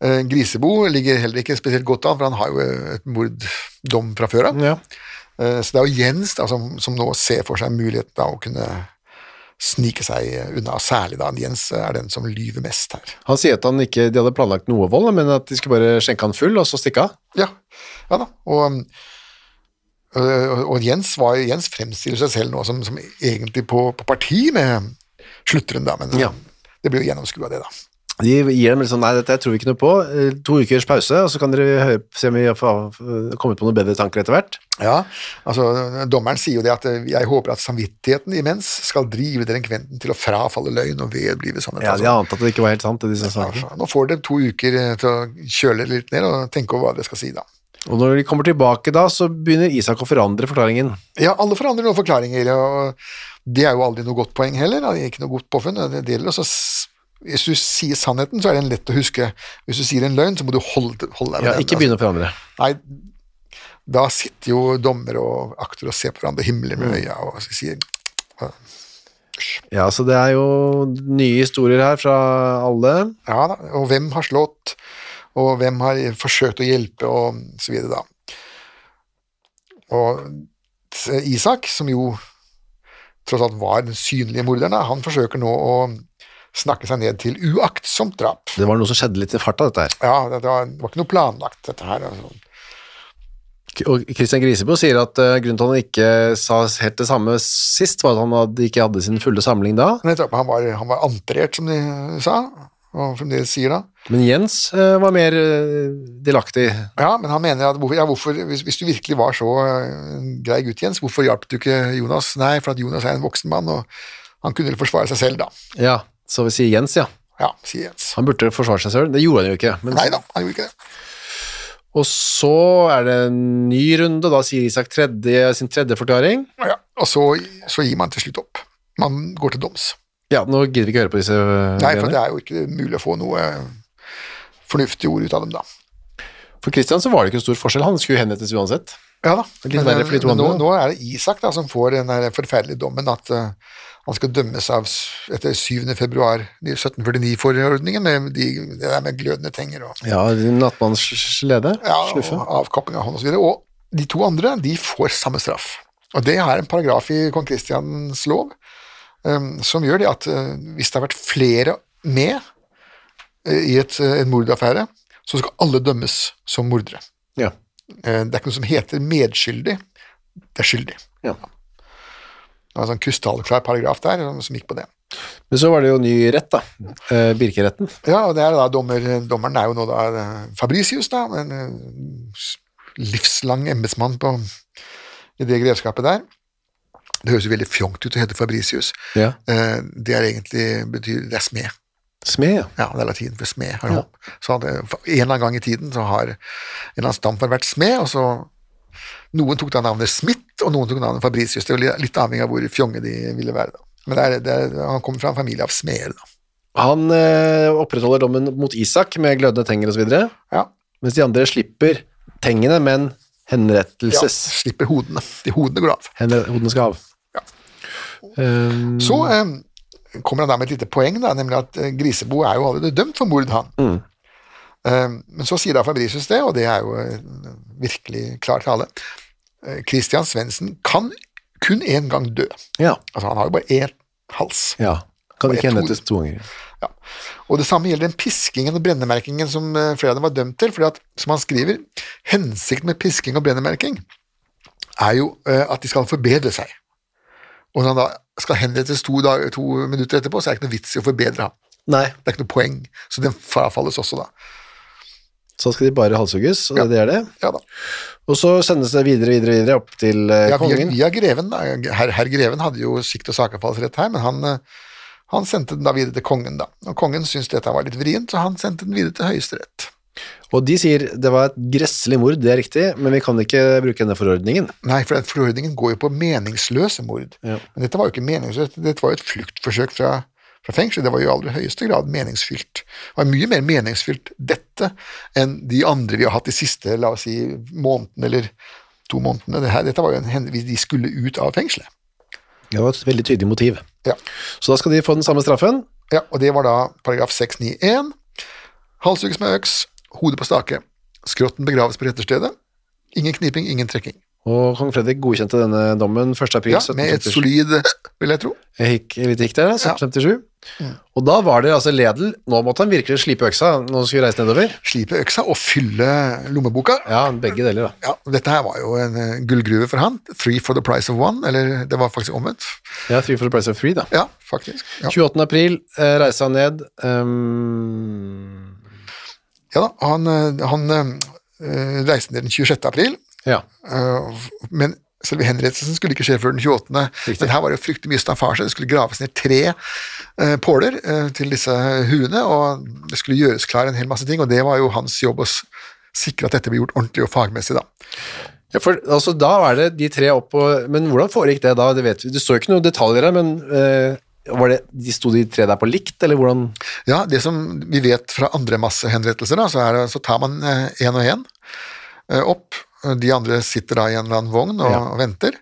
S3: Eh, Grisebo ligger heller ikke spesielt godt an, for han har jo eh, et morddom fra før av.
S2: Ja.
S3: Eh, Så det er jo Jens da, som, som nå ser for seg muligheten av å kunne snike seg unna, særlig da Jens er den som lyver mest her.
S2: Han sier at han ikke, de hadde planlagt noe vold, men at de skulle bare skjenke han full og så stikke av.
S3: Ja, ja da. Og, um, øh, og Jens, var, Jens fremstiller seg selv nå som, som egentlig på, på parti med slutteren, da, men øh,
S2: Ja.
S3: det blir jo gjennomskua, det, da.
S2: De gir dem litt sånn, nei, dette tror vi ikke noe på. Eh, To ukers pause, og så kan dere høre, se om vi har fa- kommet på noen bedre tanker etter hvert.
S3: Ja, altså Dommeren sier jo det at øh, 'jeg håper at samvittigheten imens skal drive delikventen til å frafalle løgn og vedblive sannhet'.
S2: Ja,
S3: altså.
S2: de har antatt at det ikke var helt sant, det de sa.
S3: Altså, Nå får dere to uker eh, til å kjøle dere litt ned og tenke over hva dere skal si, da.
S2: Og når de kommer tilbake da, så begynner Isak å forandre forklaringen.
S3: Ja, alle forandrer noen forklaringer, og det er jo aldri noe godt poeng heller. Det er ikke noe godt påfunn. Det gjelder også s- Hvis du sier sannheten, så er den lett å huske. Hvis du sier en løgn, så må du holde, holde deg
S2: Ja, ikke begynne å forandre.
S3: Altså, nei, da sitter jo dommer og akter og ser på hverandre, himler
S2: Mm.
S3: med øya og sier
S2: Ja, så det er jo nye historier her fra alle.
S3: Ja da, og hvem har slått, og hvem har forsøkt å hjelpe, og så videre, da. Og Isak, som jo tross alt var den synlige morderen, da, han forsøker nå å snakke seg ned til uaktsomt drap.
S2: Det var noe som skjedde litt i farta, dette her.
S3: Ja, det var, det var ikke noe planlagt, dette her. Altså.
S2: K- Og Kristian Grisebo sier at eh, grunnen til at han ikke sa helt det samme sist, var at han hadde, ikke hadde sin fulle samling da.
S3: Nettopp, Han var, han var anterert, som de sa, og fremdeles sier da.
S2: Men Jens eh, var mer eh, delaktig.
S3: Ja, men han mener at hvorfor, ja, hvorfor, hvis, hvis du virkelig var så eh, grei gutt, Jens, hvorfor hjalp du ikke Jonas? Nei, for at Jonas er en voksen mann, og han kunne vel forsvare seg selv, da.
S2: Ja, så vi sier Jens, ja.
S3: Ja, sier Jens.
S2: Han burde forsvare seg selv, det gjorde han jo ikke. Men,
S3: Nei da, han gjorde ikke det.
S2: Og så er det en ny runde, da sier Isak tredje, sin tredje forklaring.
S3: Ja. Og så, så gir man til slutt opp. Man går til doms.
S2: Ja, nå gidder vi ikke høre på disse eh,
S3: Nei, for
S2: greiene.
S3: det er jo ikke mulig å få noe eh, fornuftig ord ut av dem, da.
S2: For Kristian så var det ikke en stor forskjell, han skulle jo henrettes uansett.
S3: Ja da.
S2: Litt verre for de to
S3: men nå,
S2: andre, da.
S3: nå er det Isak da, som får den der forferdelige dommen at eh, han skal dømmes av s- etter 7. februar 1749-forordningen med de, det der med glødende tenger og,
S2: Ja, nattmannslede,
S3: ja,
S2: sluffe.
S3: og avkapping av hånd osv. Og de to andre de får samme straff. Og det er en paragraf i kong Kristians lov eh, som gjør det at eh, hvis det har vært flere med eh, i et, eh, en mordaffære, så skal alle dømmes som mordere.
S2: Ja.
S3: Eh, Det er ikke noe som heter medskyldig, det er skyldig.
S2: Ja.
S3: Det var en sånn krystallklar paragraf der som- som gikk på det.
S2: Men så var det jo ny rett da, eh, Birkeretten.
S3: Ja, og det er da dommer, Dommeren er jo nå da eh, Fabricius, da, en eh, s- livslang embetsmann på- i det grevskapet der. Det høres jo veldig fjongt ut å hete Fabricius.
S2: Ja.
S3: Eh, Det er egentlig betyr, det er smed.
S2: Smed, ja.
S3: Ja, det er latin for smed. har jeg håp. Så hadde, en eller annen gang i tiden så har en eller annen stamfar vært smed, og så Noen tok da navnet Smith, og noen tok navnet Fabricius. Det var li- litt avhengig av hvor fjonge de ville være. da. Men det er, det er, han kommer fra en familie av smeder, da.
S2: Han eh, opprettholder dommen mot Isak med glødende tenger og så videre,
S3: Ja.
S2: mens de andre slipper tengene, men
S3: ja.
S2: henrettelses.
S3: Slipper hodene. De hodene går av.
S2: Henre, hodene skal av. Um,
S3: Så eh, kommer han da med et lite poeng, da, nemlig at eh, Grisebo er jo allerede dømt for mord, han. Eh, men så sier da Fabricius det, og det er jo eh, virkelig klar tale. Eh, Christian Svendsen kan kun én gang dø.
S2: ja.
S3: Altså, han har jo bare én hals.
S2: ja. Kan
S3: Og
S2: ikke
S3: et
S2: henrettes to ganger.
S3: Ja. Og det samme gjelder den piskingen og brennemerkingen som eh, flere av dem var dømt til, fordi at, som han skriver, hensikten med pisking og brennemerking er jo eh, at de skal forbedre seg. Og når han da skal henrettes to, dag- to minutter etterpå, så er det ikke noe vits i å forbedre ham.
S2: Nei.
S3: Det er ikke noe poeng, så den frafalles også da.
S2: Så skal de bare halshugges, og
S3: Ja.
S2: det er det.
S3: Ja da.
S2: Og så sendes det videre, videre, videre opp til eh,
S3: Ja, via,
S2: kongen.
S3: via greven, da. Herr, herr greven hadde jo sikt og sakefallsrett her, men han, eh, han sendte den da videre til kongen, da. Og kongen syntes dette var litt vrient, så han sendte den videre til Høyesterett.
S2: Og de sier det var et gresselig mord, det er riktig, men vi kan ikke bruke denne forordningen.
S3: Nei, for den forordningen går jo på meningsløse mord.
S2: Ja.
S3: Men dette var jo ikke meningsløst, dette var jo et fluktforsøk fra, fra fengsel. Det var jo i aller høyeste grad meningsfylt. Det var mye mer meningsfylt dette enn de andre vi har hatt de siste la oss si, månedene eller to månedene. Det her, dette var jo en hendelse de skulle ut av fengselet.
S2: Det var et veldig tydelig motiv.
S3: Ja.
S2: Så da skal de få den samme straffen.
S3: Ja, og det var da paragraf 691. Halshugges med øks, hodet på stake. Skrotten begraves på retterstedet. Ingen kniping, ingen trekking.
S2: Og kong Fredrik godkjente denne dommen 1. april
S3: Ja, med et
S2: 1757.
S3: solid, vil jeg tro.
S2: Jeg gikk litt gikk der, da,
S3: Ja. Mm.
S2: 1757. Og da var det altså ledel. Nå måtte han virkelig slipe øksa når han skulle reise nedover.
S3: Slipe øksa og fylle lommeboka.
S2: Ja, begge deler, da.
S3: Ja, og dette her var jo en eh, gullgruve for han. Three for the price of one, eller det var faktisk omvendt.
S2: Ja, three for the price of three, da.
S3: Ja, faktisk. Ja,
S2: 28. april eh, reiste han ned. ehm,
S3: ja da, han, eh, han eh, reiste ned den 26. april,
S2: ja.
S3: eh, men selve henrettelsen skulle ikke skje før den 28.
S2: Riktig.
S3: Men her var det jo fryktelig mye staffasje. Det skulle graves ned tre eh, påler eh, til disse huene, og det skulle gjøres klar en hel masse ting, og det var jo hans jobb å s- sikre at dette ble gjort ordentlig og fagmessig, da.
S2: ja, for altså, da var det de tre opp og Men hvordan foregikk det da? Det vet vi. Det står jo ikke noen detaljer her, men eh, var det, de sto de tre der på likt, eller hvordan
S3: Ja, det som vi vet fra andre massehenrettelser, da, så, er, det- så tar man én og én opp. De andre sitter da i en eller annen vogn og,
S2: Ja.
S3: og venter.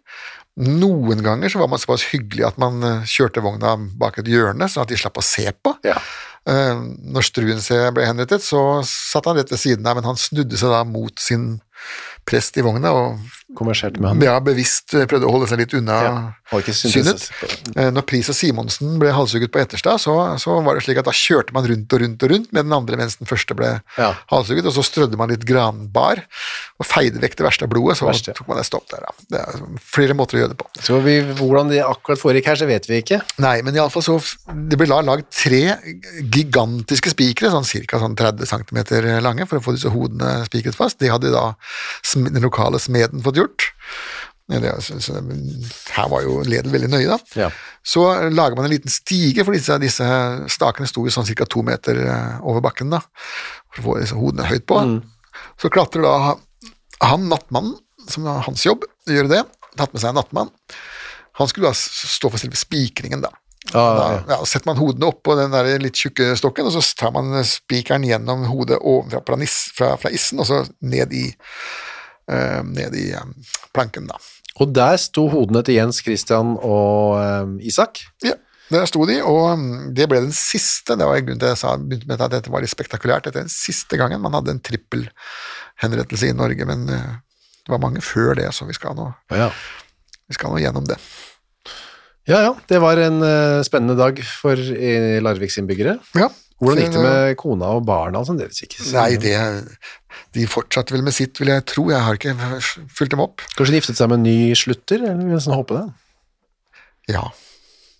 S3: Noen ganger så var man såpass hyggelig at man eh, kjørte vogna bak et hjørne, sånn at de slapp å se på.
S2: Ja.
S3: Eh, Når Struensee ble henrettet, så satt han rett ved siden av, men han snudde seg da mot sin prest i vogna og
S2: konverserte med han?
S3: ja, bevisst eh, prøvde å holde seg litt unna
S2: Mm. Ja, har ikke syntes-
S3: synet. Eh, Når Pris og Simonsen ble halshugget på Etterstad, så, så var det slik at da kjørte man rundt og rundt og rundt med den andre mens den første ble
S2: Ja.
S3: halshugget, og så strødde man litt granbar og feide vekk det verste av blodet, så
S2: Verste, ja.
S3: tok man et stopp der. Ja. Det er altså, flere måter å gjøre det på.
S2: Så vi, hvordan det akkurat foregikk her, så vet vi ikke.
S3: Nei, men iallfall så f- Det ble la- lagd tre gigantiske spikere, sånn ca. Sånn 30 cm lange, for å få disse hodene spikret fast. Det hadde da sm- den lokale smeden fått gjort. Ja, Det, er altså- så, her var jo Ledel veldig nøye, da.
S2: Ja.
S3: Så lager man en liten stige, for disse, disse stakene sto jo sånn ca. to meter eh, over bakken, da, for å få disse hodene høyt på. Så klatrer da han, nattmannen, som var hans jobb, å gjøre det. Tatt med seg en nattmann. Han skulle da s- stå for selve spikringen, da. da
S2: Ah,
S3: ja, setter man hodene oppå den der litt tjukke stokken, og så tar man spikeren gjennom hodet ovenfra fra, nis- fra, fra issen, og så ned i, eh, ned i eh, planken, da.
S2: Og der sto hodene til Jens Christian og eh, Isak.
S3: Ja, der sto de, og mm, det ble den siste, det var grunnen til at jeg sa, begynte med at dette var litt spektakulært, dette er den siste gangen man hadde en trippelhenrettelse i Norge, men eh, det var mange før det, så vi skal nå,
S2: Ja.
S3: vi skal nå gjennom det.
S2: ja, ja. Det var en eh, spennende dag for eh, Larviks innbyggere.
S3: Ja.
S2: Hvordan gikk det med kona og barna? og sånn? Det vet vi ikke.
S3: Nei, det, de fortsatte vel med sitt, vil jeg tro, jeg har ikke fulgt dem opp.
S2: Kanskje de giftet seg med en ny slutter? eller vil jeg sånn håpe Det
S3: Ja,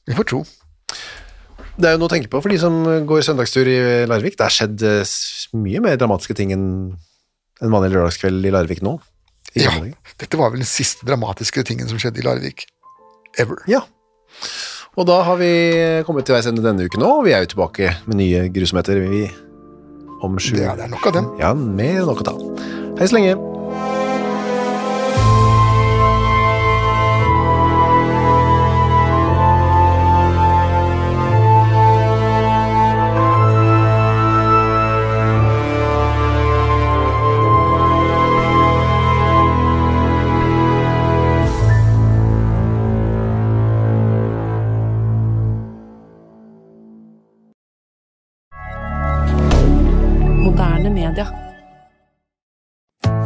S3: vi får tro.
S2: Det er jo noe å tenke på for de som går søndagstur i Larvik. Det har skjedd eh, s- mye mer dramatiske ting enn en vanlig lørdagskveld i Larvik nå. I
S3: Ja,
S2: gamle dager.
S3: dette var vel den siste dramatiske tingen som skjedde i Larvik. Ever.
S2: ja. Og da har vi kommet til veis ende denne uken òg, og vi er jo tilbake med nye grusomheter vi om sju
S3: Det er, det er nok av dem.
S2: Ja, mer enn nok å ta. Hei så lenge.
S4: Moderne media.